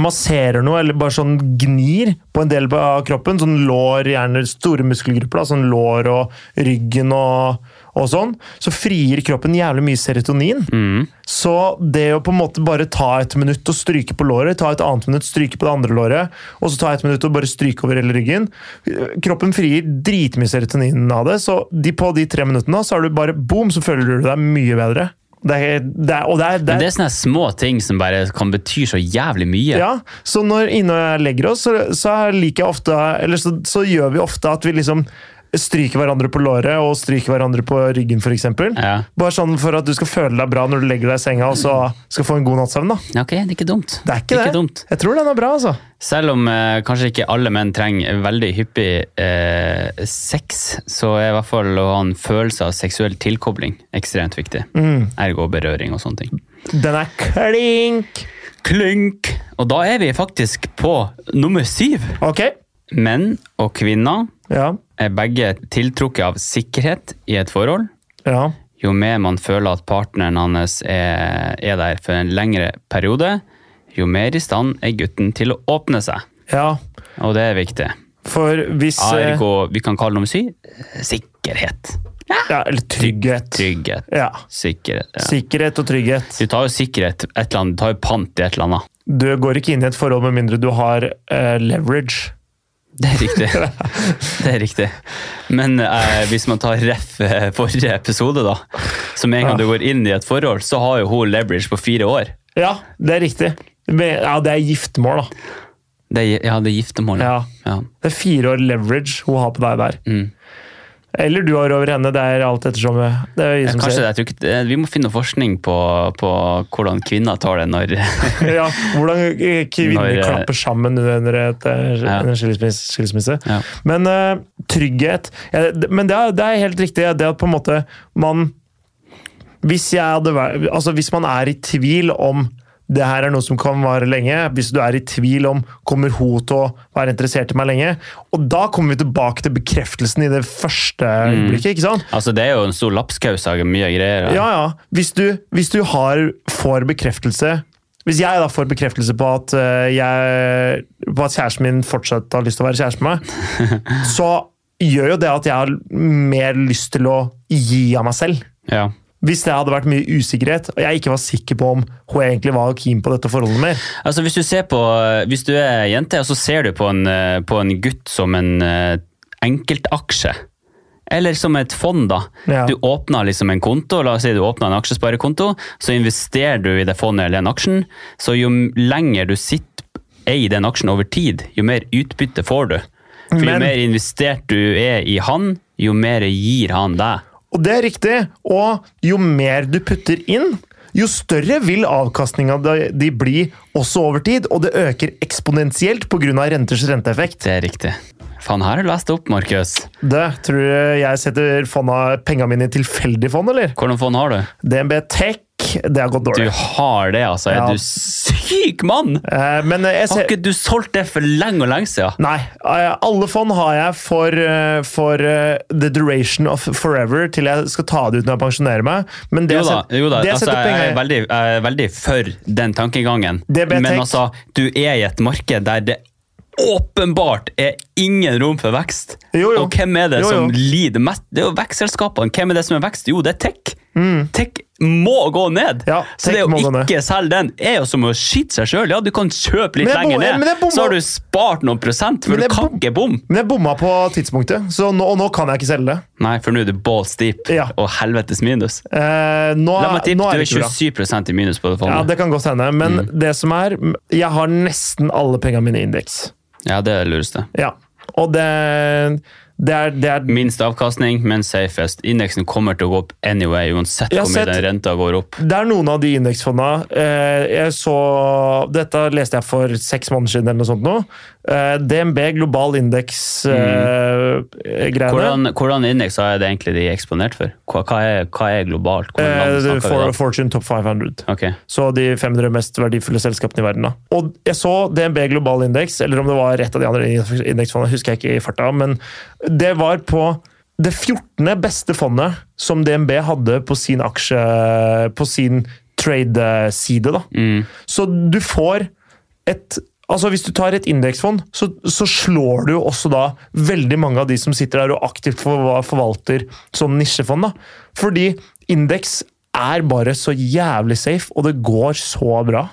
[SPEAKER 1] masserer noe, eller bare sånn gnir på en del av kroppen, sånn lår, gjerne store muskelgrupper, da, sånn lår og ryggen og, og sånn, så frier kroppen jævlig mye serotonin. Så det å på en måte bare ta et minutt og stryke på låret, ta et annet minutt, stryke på det andre låret, og så ta et minutt og bare stryke over hele ryggen eh, Kroppen frier dritmye serotonin av det, så de, på de tre minuttene så har du bare boom, så føler du deg mye bedre. Det er, det er, og det er, det
[SPEAKER 2] Men
[SPEAKER 1] er
[SPEAKER 2] det er sånne små ting som bare kan bety så jævlig mye.
[SPEAKER 1] ja, så når Ine og jeg legger oss, så, så liker jeg ofte Eller så, så gjør vi ofte at vi liksom stryker hverandre på låret og stryker hverandre på ryggen, f.eks.
[SPEAKER 2] Ja.
[SPEAKER 1] Bare sånn for at du skal føle deg bra når du legger deg i senga og så skal få en god natts søvn. da.
[SPEAKER 2] Ja, Ok, det er ikke dumt.
[SPEAKER 1] Det er ikke, det.
[SPEAKER 2] dumt.
[SPEAKER 1] Jeg tror den er bra, altså.
[SPEAKER 2] Selv om eh, kanskje ikke alle menn trenger veldig hyppig eh, sex, så er i hvert fall å ha en følelse av seksuell tilkobling ekstremt viktig. Ergo berøring og sånne ting.
[SPEAKER 1] Den er klink!
[SPEAKER 2] Klunk! Og da er vi faktisk på nummer syv.
[SPEAKER 1] Ok.
[SPEAKER 2] Menn og kvinner
[SPEAKER 1] Ja.
[SPEAKER 2] er begge tiltrukket av sikkerhet i et forhold.
[SPEAKER 1] Ja.
[SPEAKER 2] Jo mer man føler at partneren hans er, er der for en lengre periode, jo mer i stand er gutten til å åpne seg.
[SPEAKER 1] ja.
[SPEAKER 2] Og det er viktig.
[SPEAKER 1] For hvis
[SPEAKER 2] Ah,
[SPEAKER 1] eh,
[SPEAKER 2] Ergo, vi kan kalle noe sy sikkerhet.
[SPEAKER 1] eh, ja, Eller trygghet.
[SPEAKER 2] Trygghet.
[SPEAKER 1] Ja.
[SPEAKER 2] Sikkerhet. Ja.
[SPEAKER 1] Sikkerhet og trygghet.
[SPEAKER 2] Du tar jo sikkerhet, et eller annet, du tar jo pant i et eller annet.
[SPEAKER 1] Du går ikke inn i et forhold med mindre du har eh, leverage.
[SPEAKER 2] Det er riktig. Det er riktig. Men eh, hvis man tar ref eh, forrige episode, da. Som en gang du går inn i et forhold, så har jo hun leverage på fire år.
[SPEAKER 1] Ja, det er riktig. Men, ja, det er giftermål, da.
[SPEAKER 2] Det, er- ja, det er giftermålet.
[SPEAKER 1] Ja.
[SPEAKER 2] Ja.
[SPEAKER 1] Det er fire år leverage hun har på deg der.
[SPEAKER 2] Mm.
[SPEAKER 1] Eller du har over henne. Det er alt ettersom. eh, Det er vi
[SPEAKER 2] Ja,
[SPEAKER 1] som
[SPEAKER 2] Kanskje
[SPEAKER 1] ser.
[SPEAKER 2] det, jeg tror ikke, eh, Vi må finne noe forskning på, på hvordan kvinner tar det når
[SPEAKER 1] Ja, hvordan eh, kvinner
[SPEAKER 2] Når, eh,
[SPEAKER 1] klapper sammen under et, eh,
[SPEAKER 2] Ja.
[SPEAKER 1] en skilsmisse. skilsmisse.
[SPEAKER 2] ja.
[SPEAKER 1] Men eh, trygghet ja, det- Men det er, det er helt riktig. Det at på en måte man hvis, jeg hadde vært, altså hvis man er i tvil om det her er noe som kan vare lenge, hvis du er i tvil om kommer hun til å være interessert i meg lenge, og da kommer vi tilbake til bekreftelsen i det første øyeblikket. ikke sant?
[SPEAKER 2] Altså, Det er jo en stor lapskaus av mye greier.
[SPEAKER 1] Ja, ja. Hvis du, hvis du har, får bekreftelse Hvis jeg da får bekreftelse på at, eh, jeg, på at kjæresten min fortsatt har lyst til å være kjæreste med meg, så gjør jo det at jeg har mer lyst til å gi av meg selv.
[SPEAKER 2] Ja.
[SPEAKER 1] Hvis det hadde vært mye usikkerhet, og jeg ikke var sikker på om hun egentlig var keen på dette forholdet mer.
[SPEAKER 2] Altså, hvis du, ser på, hvis du er jente, og så ser du på en, eh, på en gutt som en eh, enkeltaksje, eller som et fond, da.
[SPEAKER 1] Ja.
[SPEAKER 2] Du åpner liksom en konto, la oss si du åpner en aksjesparekonto, så investerer du i det fondet eller den aksjen, så jo m- lenger du sitter i den aksjen over tid, jo mer utbytte får du. For jo
[SPEAKER 1] Men-
[SPEAKER 2] mer investert du er i han, jo mer gir han deg.
[SPEAKER 1] Og det er riktig. Og jo mer du putter inn, jo større vil avkastninga de de bli også over tid, og det øker eksponentielt pga. renters renteeffekt.
[SPEAKER 2] Det er riktig. Faen, her har du lest opp, Markus.
[SPEAKER 1] Det tror du jeg setter fonda, penga mine i tilfeldig fond, eller?
[SPEAKER 2] Hvordan fond har du?
[SPEAKER 1] DNB Tech, det har gått
[SPEAKER 2] Du
[SPEAKER 1] dårlig.
[SPEAKER 2] har det, altså.
[SPEAKER 1] Ja.
[SPEAKER 2] Er du syk mann?
[SPEAKER 1] Eh, Men jeg
[SPEAKER 2] Har
[SPEAKER 1] ser
[SPEAKER 2] ikke du solgt det for lenge og lenge siden?
[SPEAKER 1] Nei. eh, Alle fond har jeg for, eh, for eh, the duration of forever, til jeg skal ta det ut når jeg pensjonerer meg. Men det
[SPEAKER 2] Jo
[SPEAKER 1] jeg
[SPEAKER 2] da,
[SPEAKER 1] setter-
[SPEAKER 2] jo da.
[SPEAKER 1] det jeg
[SPEAKER 2] Altså,
[SPEAKER 1] setter
[SPEAKER 2] jeg, er
[SPEAKER 1] penger i-
[SPEAKER 2] veldig, jeg er veldig for den tankegangen.
[SPEAKER 1] Det ble
[SPEAKER 2] Men
[SPEAKER 1] tenkt.
[SPEAKER 2] altså, du er i et marked der det åpenbart er ingen rom for vekst.
[SPEAKER 1] Jo, jo.
[SPEAKER 2] Og hvem er det
[SPEAKER 1] Jo, jo.
[SPEAKER 2] som lider mest? Det er jo vekstselskapene. Hvem er det som er vekst? Jo, det er tech. Tech må gå ned.
[SPEAKER 1] Mm. Ja,
[SPEAKER 2] Så
[SPEAKER 1] tech
[SPEAKER 2] det å
[SPEAKER 1] må gå ned.
[SPEAKER 2] ikke selge den er jo som å skyte seg sjøl. Ja, du kan kjøpe litt
[SPEAKER 1] Men jeg bom-
[SPEAKER 2] lenger
[SPEAKER 1] men
[SPEAKER 2] ned,
[SPEAKER 1] jeg bomma-
[SPEAKER 2] så har du spart noen prosent, for
[SPEAKER 1] Men
[SPEAKER 2] du
[SPEAKER 1] jeg
[SPEAKER 2] kan
[SPEAKER 1] bom-
[SPEAKER 2] ikke bomme.
[SPEAKER 1] Men jeg bomma på tidspunktet, så nå, og nå kan jeg ikke selge det.
[SPEAKER 2] Nei, for nå er du balls deep
[SPEAKER 1] Ja.
[SPEAKER 2] og helvetes minus.
[SPEAKER 1] Eh, nå,
[SPEAKER 2] La meg tippe,
[SPEAKER 1] nå er
[SPEAKER 2] du
[SPEAKER 1] det
[SPEAKER 2] er
[SPEAKER 1] ikke
[SPEAKER 2] Mm.
[SPEAKER 1] bra.
[SPEAKER 2] 27 i minus på det
[SPEAKER 1] Ja,
[SPEAKER 2] fondet.
[SPEAKER 1] Det kan godt hende, men det som er Jeg har nesten alle pengene mine i indeks.
[SPEAKER 2] Ja, det er det lureste.
[SPEAKER 1] Ja. Og det, det er, det er
[SPEAKER 2] Minst avkastning, men safest. Indeksen kommer til å gå opp anyway, uansett
[SPEAKER 1] Jeg har
[SPEAKER 2] hvor mye
[SPEAKER 1] sett-
[SPEAKER 2] den renta går opp.
[SPEAKER 1] Det er noen av de indeksfondene eh, jeg så, Dette leste jeg for seks måneder siden. eller noe sånt nå. Eh, DNB global indeks-greiene. Eh, greiene.
[SPEAKER 2] Mm. Hvordan, hvordan indekser er det egentlig de er eksponert for? Hva, hva, er, hva er globalt? Hvordan land
[SPEAKER 1] eh,
[SPEAKER 2] snakker vi
[SPEAKER 1] for,
[SPEAKER 2] om?
[SPEAKER 1] Fortune Top 500.
[SPEAKER 2] Ok,
[SPEAKER 1] Så de 500 mest verdifulle selskapene i verden. da. Og jeg så DNB global indeks, eller om det var et av de andre indeksfondene, husker jeg ikke i farta, men det var på det 14. beste fondet som DNB hadde på sin aksje På sin trade-side, da.
[SPEAKER 2] Mm.
[SPEAKER 1] Så du får et Altså Hvis du tar et indeksfond, så, så slår du jo også da veldig mange av de som sitter der og aktivt forva- forvalter sånn nisjefond. da. Fordi indeks er bare så jævlig safe, og det går så bra.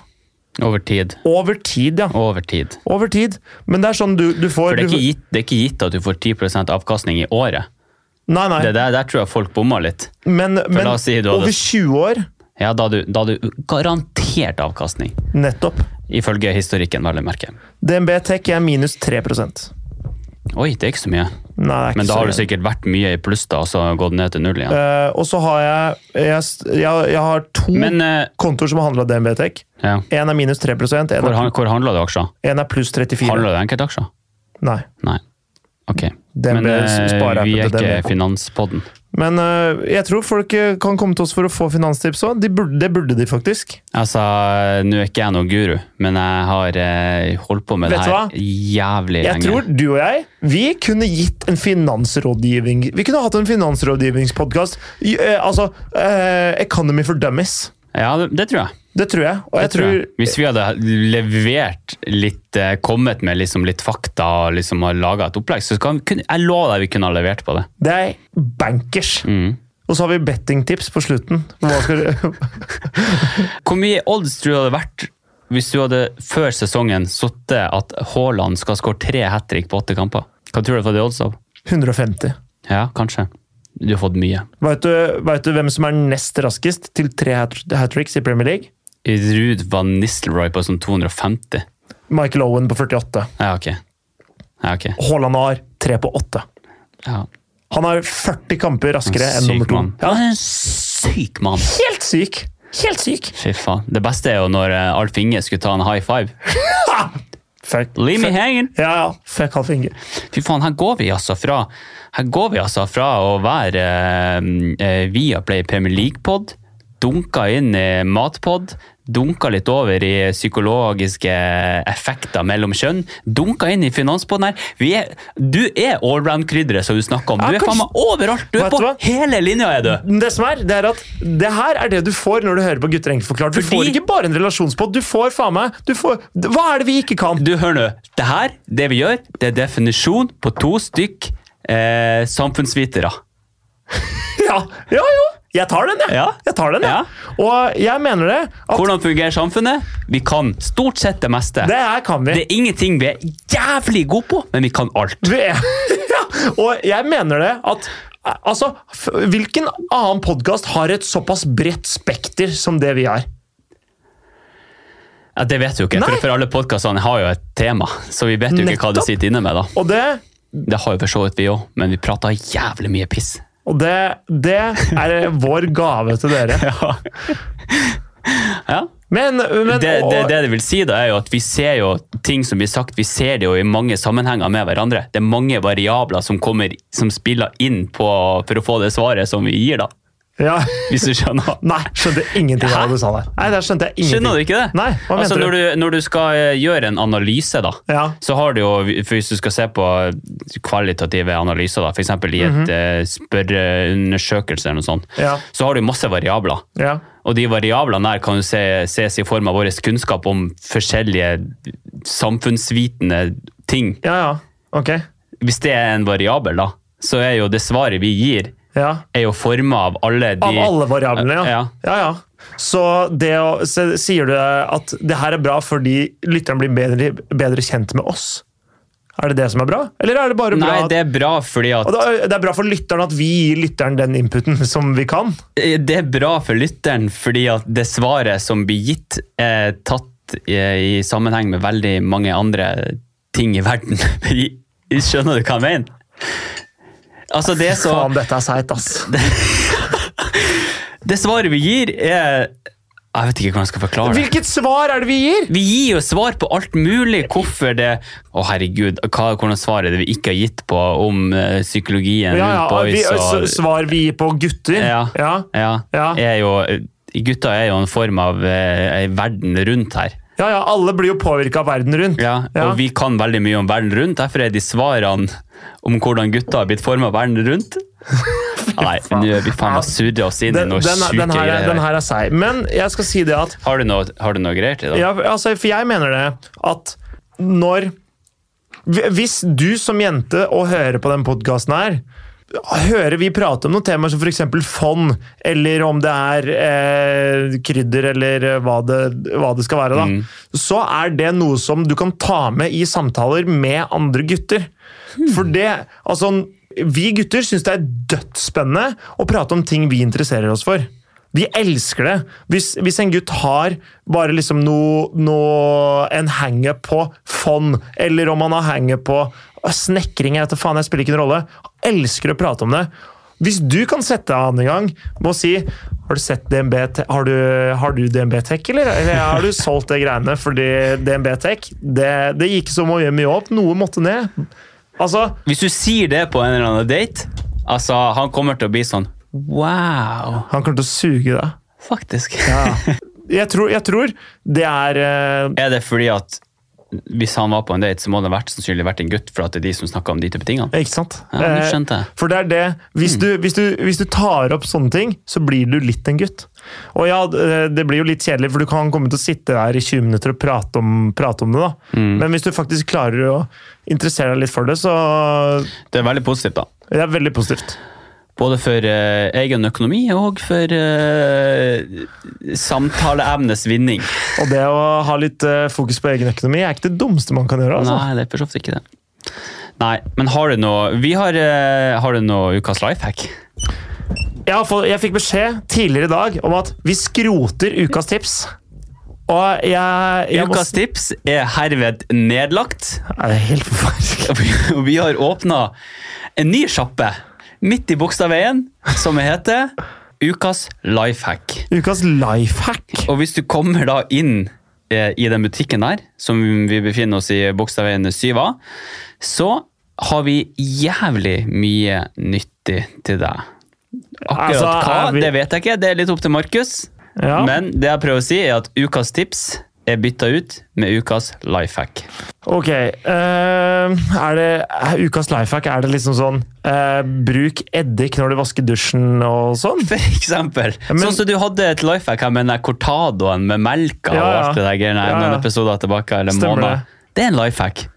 [SPEAKER 2] Over tid.
[SPEAKER 1] Over tid, ja.
[SPEAKER 2] Over tid.
[SPEAKER 1] Over tid. Men det er sånn du, du
[SPEAKER 2] For
[SPEAKER 1] får
[SPEAKER 2] det er,
[SPEAKER 1] du,
[SPEAKER 2] ikke gitt, det er ikke gitt at du får 10 avkastning i året.
[SPEAKER 1] Nei, nei.
[SPEAKER 2] Det der, der tror jeg folk bommer litt.
[SPEAKER 1] Men, men
[SPEAKER 2] la oss si du hadde-
[SPEAKER 1] over 20 år
[SPEAKER 2] Ja, da hadde du, da hadde du garantert avkastning.
[SPEAKER 1] Nettopp.
[SPEAKER 2] Ifølge historikken, vel å merke.
[SPEAKER 1] DNB Tech er minus 3 Nei,
[SPEAKER 2] Oi, det er ikke så mye.
[SPEAKER 1] det er ikke
[SPEAKER 2] Men da
[SPEAKER 1] så
[SPEAKER 2] har du
[SPEAKER 1] jævlig.
[SPEAKER 2] sikkert vært mye i pluss da, og så gått ned til null igjen.
[SPEAKER 1] Eh, og så har jeg Jeg, jeg, jeg har to
[SPEAKER 2] Men eh,
[SPEAKER 1] kontoer som har handla DNB Tech.
[SPEAKER 2] ja.
[SPEAKER 1] Én er minus 3 en
[SPEAKER 2] hvor,
[SPEAKER 1] er,
[SPEAKER 2] han- hvor handla du aksjer?
[SPEAKER 1] en er pluss 34.
[SPEAKER 2] Handla du enkeltaksjer?
[SPEAKER 1] Nei.
[SPEAKER 2] Nei. Ok.
[SPEAKER 1] Den
[SPEAKER 2] Men
[SPEAKER 1] ble
[SPEAKER 2] eh,
[SPEAKER 1] sparet
[SPEAKER 2] vi er
[SPEAKER 1] til den.
[SPEAKER 2] ikke Finanspodden.
[SPEAKER 1] Men øh, jeg tror folk øh, kan komme til oss for å få finanstips òg. De burde- det burde de faktisk.
[SPEAKER 2] Altså, nå er ikke jeg noen guru, men jeg har eh, holdt på med
[SPEAKER 1] Vet du
[SPEAKER 2] det her
[SPEAKER 1] hva?
[SPEAKER 2] jævlig
[SPEAKER 1] Jeg
[SPEAKER 2] lenge.
[SPEAKER 1] tror du og jeg vi kunne gitt en finansrådgivning Vi kunne hatt en finansrådgivningspodkast. altså øh, Economy for Dummies.
[SPEAKER 2] Ja, det, det tror jeg.
[SPEAKER 1] Det tror jeg. Og jeg
[SPEAKER 2] tror
[SPEAKER 1] tror
[SPEAKER 2] jeg. Hvis vi hadde levert litt, eh, kommet med liksom litt fakta og liksom har laga et opplegg, så kan, kunne, jeg lover deg vi kunne ha levert på det.
[SPEAKER 1] det er bankers.
[SPEAKER 2] Mm.
[SPEAKER 1] Og så har vi bettingtips på slutten. Hva skal du
[SPEAKER 2] Hvor mye odds tror du det hadde vært hvis du hadde før sesongen sittet at Haaland skal skåre tre hat trick på åtte kamper? Hva tror du du hadde fått i odds av?
[SPEAKER 1] 150.
[SPEAKER 2] Ja, kanskje. Du har fått mye.
[SPEAKER 1] Veit du, vet du hvem som er nest raskest til tre hat tricks i Premier League?
[SPEAKER 2] Ruud van Nistelrooy på sånn 250.
[SPEAKER 1] Michael Owen på 48.
[SPEAKER 2] Ja, ok. Ja, ok.
[SPEAKER 1] Haaland har tre på åtte.
[SPEAKER 2] Ja.
[SPEAKER 1] Han har 40 kamper raskere enn nummer
[SPEAKER 2] Syk
[SPEAKER 1] to.
[SPEAKER 2] mann. Ja, han er en syk mann!
[SPEAKER 1] Helt syk! Helt syk!
[SPEAKER 2] Fy faen. Det beste er jo når eh, Alf Inge skulle ta en high five.
[SPEAKER 1] Fuck.
[SPEAKER 2] Leave me hanging!
[SPEAKER 1] Ja, ja. Fuck halv finger.
[SPEAKER 2] Fy faen, her går vi altså fra, her går vi altså fra å være eh, Viaplay Premier League-pod, dunka inn i matpod, dunka litt over i psykologiske effekter mellom kjønn, dunka inn i finanspodden her. Vi er, du er allround-krydderet som du snakker om.
[SPEAKER 1] Ja,
[SPEAKER 2] Du er faen
[SPEAKER 1] kanskje-
[SPEAKER 2] meg overalt! Du
[SPEAKER 1] Vet
[SPEAKER 2] er
[SPEAKER 1] du
[SPEAKER 2] på
[SPEAKER 1] hva?
[SPEAKER 2] hele linja, er du!
[SPEAKER 1] Men Det som er, det er at det her er det du får når du hører på Gutter enkelt forklart. Du
[SPEAKER 2] Fordi-
[SPEAKER 1] får ikke bare en relasjonspod, du får faen meg du får, Hva er det vi ikke kan?
[SPEAKER 2] Du, hør nå. Det her, det vi gjør, det er definisjon på to stykk eh, samfunnsvitere.
[SPEAKER 1] Ja, ja, jo! Jeg tar den, jeg.
[SPEAKER 2] Ja.
[SPEAKER 1] Jeg tar den, jeg. Og jeg mener det. At
[SPEAKER 2] Hvordan fungerer samfunnet? Vi kan stort sett det meste.
[SPEAKER 1] det her kan vi.
[SPEAKER 2] Det er ingenting vi er jævlig gode på, men vi kan alt.
[SPEAKER 1] Vi er- ja, og jeg mener det at Altså, f- hvilken annen podkast har et såpass bredt spekter som det vi har?
[SPEAKER 2] Ja, det vet du ikke, for,
[SPEAKER 1] Nei.
[SPEAKER 2] for alle podkastene har jo et tema, så vi vet jo ikke hva det
[SPEAKER 1] Nettopp.
[SPEAKER 2] sitter inne med. da.
[SPEAKER 1] Og det
[SPEAKER 2] Det har jo for så vidt vi òg, men vi prater jævlig mye piss.
[SPEAKER 1] Og det, det er vår gave til dere.
[SPEAKER 2] Ja. ja.
[SPEAKER 1] Men, men
[SPEAKER 2] Det, det,
[SPEAKER 1] og-
[SPEAKER 2] det det vil si, da, er jo at vi ser jo ting som blir sagt, vi ser det jo i mange sammenhenger med hverandre. Det er mange variabler som kommer, som spiller inn på, for å få det svaret som vi gir, da.
[SPEAKER 1] ja.
[SPEAKER 2] Hvis du skjønner.
[SPEAKER 1] Nei, skjønte ingenting av det du sa der. Nei, der skjønte jeg ingenting.
[SPEAKER 2] Skjønner du ikke det?
[SPEAKER 1] Nei, hva
[SPEAKER 2] altså,
[SPEAKER 1] mente
[SPEAKER 2] når, du, når du skal eh, gjøre en analyse, da,
[SPEAKER 1] Ja.
[SPEAKER 2] så har du jo, for hvis du skal se på kvalitative analyser, da, f.eks. i et eh, spørreundersøkelse eller noe sånt,
[SPEAKER 1] Mhm. Ja.
[SPEAKER 2] så har du masse variabler.
[SPEAKER 1] Ja.
[SPEAKER 2] Og de variablene her kan jo se, ses i form av vår kunnskap om forskjellige samfunnsvitende ting.
[SPEAKER 1] ja, ja. Ok.
[SPEAKER 2] Hvis det er en variabel, da, så er jo det svaret vi gir,
[SPEAKER 1] Ja.
[SPEAKER 2] er jo forma av alle de
[SPEAKER 1] Av alle variablene, ja.
[SPEAKER 2] Ja.
[SPEAKER 1] ja, ja. Så, det å, så sier du at det her er bra fordi lytteren blir bedre, bedre kjent med oss? Er det det som er bra? Eller er det bare bra
[SPEAKER 2] Nei,
[SPEAKER 1] at-
[SPEAKER 2] det er bra fordi at
[SPEAKER 1] Og det er- det er bra for lytteren at vi gir lytteren den inputen som vi kan?
[SPEAKER 2] Eh, Det er bra for lytteren, fordi at det svaret som blir gitt, er tatt eh, i, i sammenheng med veldig mange andre ting i verden. I- Skjønner du hva jeg mener? Altså, det, er så,
[SPEAKER 1] Faen, dette er seigt, ass.
[SPEAKER 2] det svaret vi gir, er Jeg vet ikke hvordan jeg skal forklare det.
[SPEAKER 1] Hvilket svar er det vi gir?
[SPEAKER 2] Vi gir jo svar på alt mulig. Hvorfor det Å, herregud, hva, hvordan svar er det vi ikke har gitt på om eh,
[SPEAKER 1] Ja,
[SPEAKER 2] psykologien
[SPEAKER 1] ja,
[SPEAKER 2] rundt boys
[SPEAKER 1] vi,
[SPEAKER 2] og
[SPEAKER 1] s- Svar vi gir på gutter?
[SPEAKER 2] Ja.
[SPEAKER 1] ja.
[SPEAKER 2] ja,
[SPEAKER 1] Ja.
[SPEAKER 2] Er jo, Gutta er jo en form av eh, en verden rundt her.
[SPEAKER 1] Ja, ja, alle blir jo påvirka av verden rundt.
[SPEAKER 2] Ja,
[SPEAKER 1] Ja.
[SPEAKER 2] og vi kan veldig mye om verden rundt, derfor er de svarene om hvordan gutta har blitt forma verden rundt. Nei, nå er vi faen meg surra oss inn i
[SPEAKER 1] Den,
[SPEAKER 2] noe
[SPEAKER 1] den,
[SPEAKER 2] sjuke
[SPEAKER 1] den, her, er-
[SPEAKER 2] greier.
[SPEAKER 1] den her er seig. Men jeg skal si det at
[SPEAKER 2] Har du noe, har du noe greier til det?
[SPEAKER 1] ja, altså, For jeg mener det at når Hvis du som jente og hører på den podkasten her Hører vi prate om noen temaer som f.eks. fond, eller om det er eh, krydder, eller eh, hva det, hva det skal være, da, så er det noe som du kan ta med i samtaler med andre gutter. For det Altså, vi gutter syns det er dødsspennende å prate om ting vi interesserer oss for. Vi elsker det. Hvis, hvis en gutt har bare liksom noe, noe en hangup på fond, eller om han har hangup på ah, snekring, jeg vet da faen, jeg spiller ikke en rolle. Han elsker å prate om det. Hvis du kan sette deg an en gang med å si har du sett DNB Te- har du, har du DNB Tech, eller? eller har du solgt det greiene? Fordi DNB Tech, det, det gikk så mye mye opp. Noe måtte ned. Altså,
[SPEAKER 2] Hvis du sier det på en eller annen date, altså, han kommer til å bli sånn Wow!
[SPEAKER 1] han kommer til å suge deg.
[SPEAKER 2] Faktisk.
[SPEAKER 1] Jeg tror, jeg tror det er eh,
[SPEAKER 2] Er det fordi at hvis han var på en date, så må det vært, sannsynlig vært en gutt, for at det er de som snakker om de type tingene?
[SPEAKER 1] Ikke sant?
[SPEAKER 2] Ja, nå
[SPEAKER 1] Eh,
[SPEAKER 2] skjønte jeg. Mm.
[SPEAKER 1] For det er det. Hvis, du, hvis, du, hvis du tar opp sånne ting, så blir du litt en gutt. Og ja, eh, det det blir jo litt kjedelig, for du kan komme til å sitte der i 20 minutter og prate om, prate om det. da.
[SPEAKER 2] Mm.
[SPEAKER 1] Men hvis du faktisk klarer å interessere deg litt for det, så
[SPEAKER 2] Det er veldig positivt, da.
[SPEAKER 1] det er veldig positivt.
[SPEAKER 2] Både for eh, egen økonomi og for eh, samtaleemnes vinning.
[SPEAKER 1] Og det å ha litt eh, fokus på egen økonomi er ikke det dummeste man kan gjøre. altså.
[SPEAKER 2] Nei, det er for så vidt ikke det. Nei, men har du noe Vi har, eh, har du noe ukas life hack?
[SPEAKER 1] Jeg, har fått, jeg fikk beskjed tidligere i dag om at vi skroter ukas tips. Og jeg, jeg
[SPEAKER 2] Ukas tips er herved nedlagt.
[SPEAKER 1] må, er det helt forferdelig?
[SPEAKER 2] Og vi har åpna en ny sjappe midt i Bogstadveien som heter Ukas life hack.
[SPEAKER 1] Ukas lifehack.
[SPEAKER 2] Og hvis du kommer da inn eh, i den butikken der, som vi befinner oss i Bogstadveien 7A, så har vi jævlig mye nyttig til deg. Akkurat
[SPEAKER 1] Altså,
[SPEAKER 2] hva,
[SPEAKER 1] er vi-
[SPEAKER 2] det vet jeg ikke. Det er litt opp til Markus.
[SPEAKER 1] Ja.
[SPEAKER 2] Men det jeg prøver å si, er at ukas tips er bytta ut med ukas life hack.
[SPEAKER 1] Ok, eh, er det er ukas lifehack, er det liksom sånn eh, Bruk eddik når du vasker dusjen og sånn?
[SPEAKER 2] For eksempel.
[SPEAKER 1] men-
[SPEAKER 2] sånn som du hadde et life hack her med den der cortadoen med
[SPEAKER 1] Ja,
[SPEAKER 2] melka og
[SPEAKER 1] ja.
[SPEAKER 2] alt det der greiene her,
[SPEAKER 1] Ja, ja.
[SPEAKER 2] noen episoder tilbake. eller
[SPEAKER 1] Stemmer
[SPEAKER 2] måneder. Det er en life hack.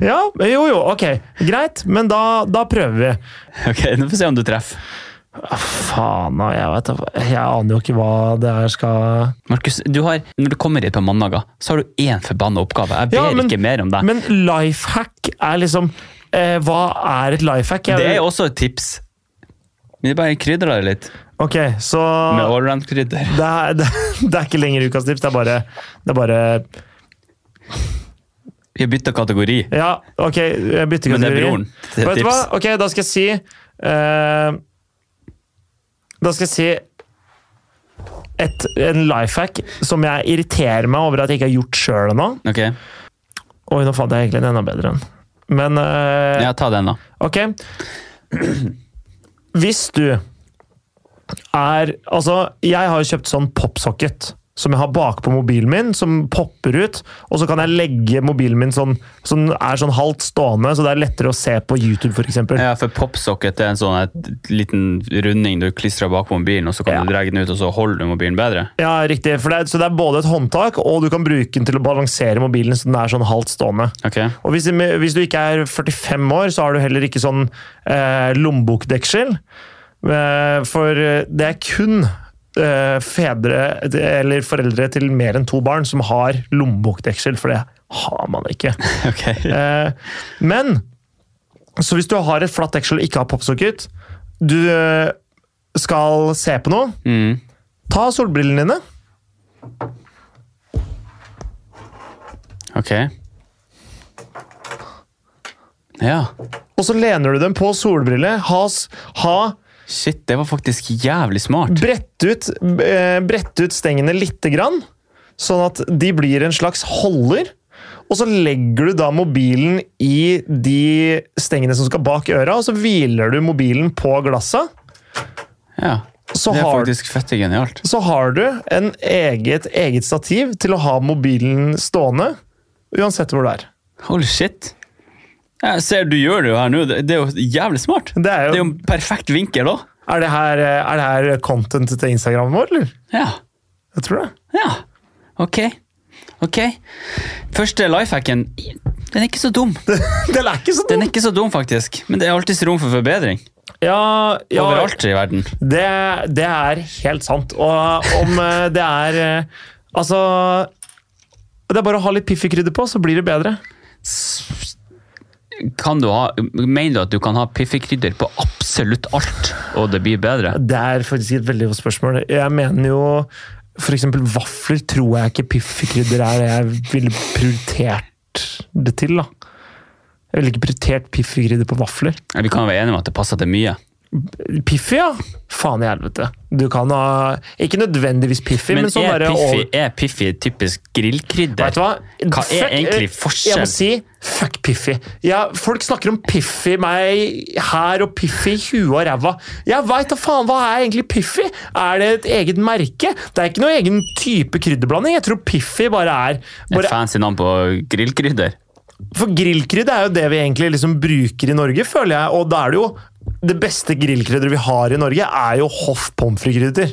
[SPEAKER 1] Ja, jo jo, ok. Greit, men da, da prøver vi.
[SPEAKER 2] Ok, Nå får vi se om du treffer.
[SPEAKER 1] Faen, da, jeg vet da- Jeg aner jo ikke hva det her skal
[SPEAKER 2] Markus, du har, når du kommer hit på mandager, så har du én forbanna oppgave. Jeg ber
[SPEAKER 1] Ja, men-
[SPEAKER 2] ikke mer om deg.
[SPEAKER 1] Men lifehack er liksom eh, Hva er et lifehack? Jeg-
[SPEAKER 2] det er også et tips. Men det er bare krydrer det litt.
[SPEAKER 1] Ok, så
[SPEAKER 2] Med allround-krydder.
[SPEAKER 1] det er, det, det er ikke lenger ukas tips, det er bare, det er bare
[SPEAKER 2] Vi har bytta kategori.
[SPEAKER 1] Ja, ok, jeg bytter
[SPEAKER 2] Men det er
[SPEAKER 1] kategori.
[SPEAKER 2] broren til
[SPEAKER 1] Vet du hva?
[SPEAKER 2] tips.
[SPEAKER 1] Ok, da skal jeg si eh, Da skal jeg si et, en life hack som jeg irriterer meg over at jeg ikke har gjort sjøl ennå.
[SPEAKER 2] Ok,
[SPEAKER 1] Oi, nå fant jeg egentlig en enda bedre en. Men eh,
[SPEAKER 2] ja, Ta den, da.
[SPEAKER 1] ok Hvis du er Altså, jeg har jo kjøpt sånn popsocket. Som jeg har bakpå mobilen min, som popper ut. Og så kan jeg legge mobilen min sånn, sånn er sånn halvt stående, så det er lettere å se på YouTube, f.eks.
[SPEAKER 2] Ja, for Popsocket er en sånn et, liten runding du klistrer bak på mobilen, og så kan
[SPEAKER 1] Ja.
[SPEAKER 2] du dra den ut, og så holder du mobilen bedre.
[SPEAKER 1] Ja, riktig. For det, er- så det er både et håndtak, og du kan bruke den til å balansere mobilen så den er sånn halvt stående.
[SPEAKER 2] Ok,
[SPEAKER 1] Og hvis, hvis du ikke er 45 år, så har du heller ikke sånn eh, lommebokdeksel. Eh, for det er kun eh, fedre eller foreldre til mer enn to barn som har lommebokdeksel, for det har man ikke.
[SPEAKER 2] ok.
[SPEAKER 1] Eh, men så hvis du har et flatt deksel og ikke har popsocket, du eh, skal se på noe,
[SPEAKER 2] Mm.
[SPEAKER 1] ta solbrillene dine.
[SPEAKER 2] Ok. Ja.
[SPEAKER 1] Og så lener du dem på solbriller. Ha, s- ha
[SPEAKER 2] Shit, det var faktisk jævlig smart.
[SPEAKER 1] brett ut, eh, brett ut stengene lite grann, sånn at de blir en slags holder. Og så legger du da mobilen i de stengene som skal bak øra, og så hviler du mobilen på glasset.
[SPEAKER 2] Ja.
[SPEAKER 1] Så
[SPEAKER 2] Det er
[SPEAKER 1] har,
[SPEAKER 2] faktisk fette genialt.
[SPEAKER 1] så har du en eget, eget stativ til å ha mobilen stående, uansett hvor du er.
[SPEAKER 2] Holy shit. Jeg ser du gjør det jo her nå. Det det er jo jævlig smart.
[SPEAKER 1] Det er,
[SPEAKER 2] Det er jo
[SPEAKER 1] jo,
[SPEAKER 2] en perfekt vinkel òg.
[SPEAKER 1] er, det her, eh, er det her content til Instagram vår, eller?
[SPEAKER 2] Ja.
[SPEAKER 1] Jeg tror det.
[SPEAKER 2] ja. Ok. Ok. Første lifehacken, den er ikke så dum.
[SPEAKER 1] Den er ikke så
[SPEAKER 2] Den
[SPEAKER 1] dum!
[SPEAKER 2] er ikke så dum, faktisk. Men det er alltids rom for forbedring.
[SPEAKER 1] Ja, ja,
[SPEAKER 2] Overalt i verden.
[SPEAKER 1] Det, det er helt sant. Og om eh, det er eh, Altså Det er bare å ha litt piffikrydder på, så blir det bedre.
[SPEAKER 2] Kan du ha, mener du at du kan ha piffikrydder på absolutt alt, og det blir bedre?
[SPEAKER 1] Det er faktisk et veldig godt spørsmål. Jeg mener jo f.eks. vafler tror jeg ikke piffikrydder er det jeg ville prioritert det til. da. Jeg ville ikke prioritert piffikrydder på vafler.
[SPEAKER 2] Vi kan være enige om at det passer til mye.
[SPEAKER 1] Piffy, ja. Faen i helvete. Du kan ha Ikke nødvendigvis Piffy, men,
[SPEAKER 2] Men
[SPEAKER 1] sånn
[SPEAKER 2] er
[SPEAKER 1] bare
[SPEAKER 2] Piffi,
[SPEAKER 1] all-
[SPEAKER 2] er Piffi et typisk grillkrydder?
[SPEAKER 1] Vet du hva?
[SPEAKER 2] Hva er
[SPEAKER 1] Fuck- eh,
[SPEAKER 2] egentlig
[SPEAKER 1] Jeg
[SPEAKER 2] forskjell?
[SPEAKER 1] må si fuck Piffi. Ja, folk snakker om Piffi meg her og Piffi i huet og ræva. Jeg veit da faen! Hva er egentlig Piffi? Er det et eget merke? Det er ikke noe egen type krydderblanding. Jeg tror Piffi bare er
[SPEAKER 2] Et
[SPEAKER 1] bare,
[SPEAKER 2] fancy navn på grillkrydder?
[SPEAKER 1] For grillkrydder er jo det vi egentlig liksom bruker i Norge, føler jeg. Og da er det jo det beste grillkrydderet vi har i Norge, er jo hoff pommes frites-krydder.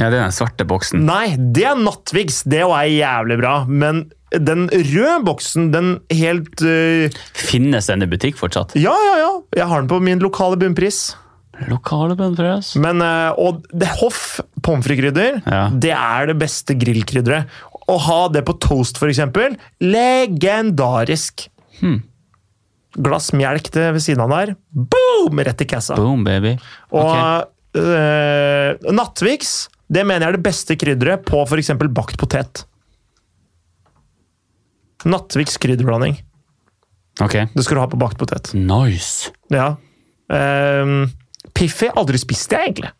[SPEAKER 2] Ja, det er den svarte boksen.
[SPEAKER 1] Nei, det er Nattvigs. Det òg er jævlig bra. Men den røde boksen, den helt øh,
[SPEAKER 2] Finnes denne butikk fortsatt?
[SPEAKER 1] Ja, ja, ja. Jeg har den på min lokale bunnpris.
[SPEAKER 2] Lokale bønnfrøs.
[SPEAKER 1] Men, eh, og det Hoff pommes frites-krydder,
[SPEAKER 2] Ja.
[SPEAKER 1] det er det beste grillkrydderet. Å ha det på toast, for eksempel, legendarisk.
[SPEAKER 2] Hmm.
[SPEAKER 1] Glass melk til ved siden av der. Boom! Rett i kassa.
[SPEAKER 2] Boom, baby.
[SPEAKER 1] Og
[SPEAKER 2] Ok.
[SPEAKER 1] eh, nattviks, det mener jeg er det beste krydderet på f.eks. bakt potet. Nattviks krydderblanding.
[SPEAKER 2] ok.
[SPEAKER 1] Det skal du ha på bakt potet.
[SPEAKER 2] Nice.
[SPEAKER 1] Ja. Ehm, Piffi aldri spist jeg, egentlig.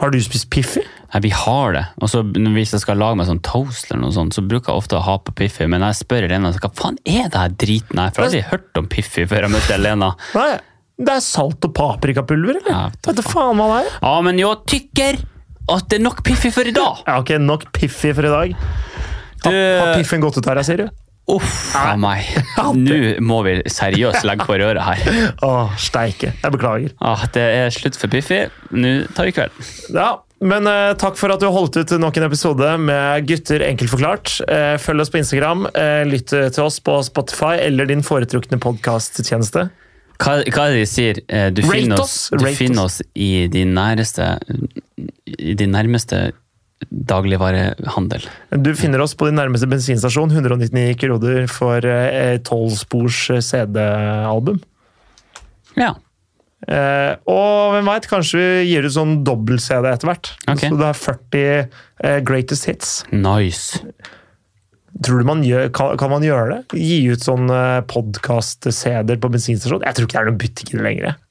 [SPEAKER 1] Har du spist Piffi?
[SPEAKER 2] Nei, vi har det. Og så hvis jeg skal lage meg sånn toast eller noe sånt, så bruker jeg ofte å ha på Piffi, men jeg spør Elena hva faen er det her driten her? For jeg har aldri hørt om Piffi før jeg møtte Elena.
[SPEAKER 1] Nei, det er salt og paprikapulver, eller?
[SPEAKER 2] Ja, vet
[SPEAKER 1] vet du faen hva det er?
[SPEAKER 2] Ja, men jeg tykker at det er nok Piffi for i dag.
[SPEAKER 1] Ja, ok, nok Piffi for i dag. Har,
[SPEAKER 2] Du-
[SPEAKER 1] har Piffen gått ut her, sier du?
[SPEAKER 2] Uff a meg. Nå må vi seriøst legge på røret her.
[SPEAKER 1] Å, steike. Jeg beklager.
[SPEAKER 2] Ah, det er slutt for Piffi. Nå tar vi kvelden.
[SPEAKER 1] Ja, men eh, takk for at du holdt ut til nok en episode med Gutter enkelt forklart. Eh, følg oss på Instagram, eh, lytt eh, til oss på Spotify eller din foretrukne podkasttjeneste.
[SPEAKER 2] Hva, hva er det de sier? Eh, Du
[SPEAKER 1] Rate
[SPEAKER 2] finner oss,
[SPEAKER 1] oss,
[SPEAKER 2] du
[SPEAKER 1] rate
[SPEAKER 2] finner oss i din næreste i din nærmeste dagligvarehandel.
[SPEAKER 1] Du finner oss på din nærmeste bensinstasjon. 199 kroner for eh, tolvspors uh, CD-album.
[SPEAKER 2] Ja.
[SPEAKER 1] Eh, og hvem veit, kanskje vi gir ut sånn dobbel-CD etter hvert.
[SPEAKER 2] Ok.
[SPEAKER 1] Så det er 40 eh, greatest hits.
[SPEAKER 2] Nice.
[SPEAKER 1] Tror du man gjør, kan, kan man gjøre det? Gi ut sånn uh, podkast-CD-er på bensinstasjon? Jeg tror ikke det er noen butikker lenger. jeg.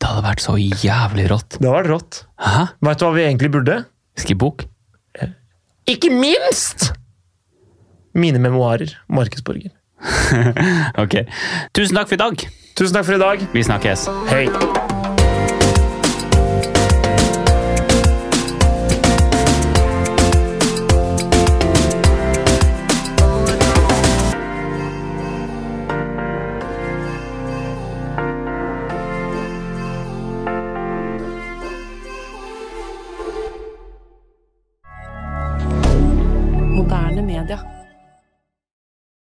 [SPEAKER 2] Det hadde vært så jævlig rått.
[SPEAKER 1] Det hadde vært rått.
[SPEAKER 2] Hæ?
[SPEAKER 1] Veit du hva vi egentlig burde?
[SPEAKER 2] Skriv bok?
[SPEAKER 1] Ikke minst! Mine memoarer. Markedsborger.
[SPEAKER 2] Ok. Tusen takk for i dag.
[SPEAKER 1] Tusen takk for i dag.
[SPEAKER 2] Vi snakkes.
[SPEAKER 1] Hei!
[SPEAKER 3] Moderne media.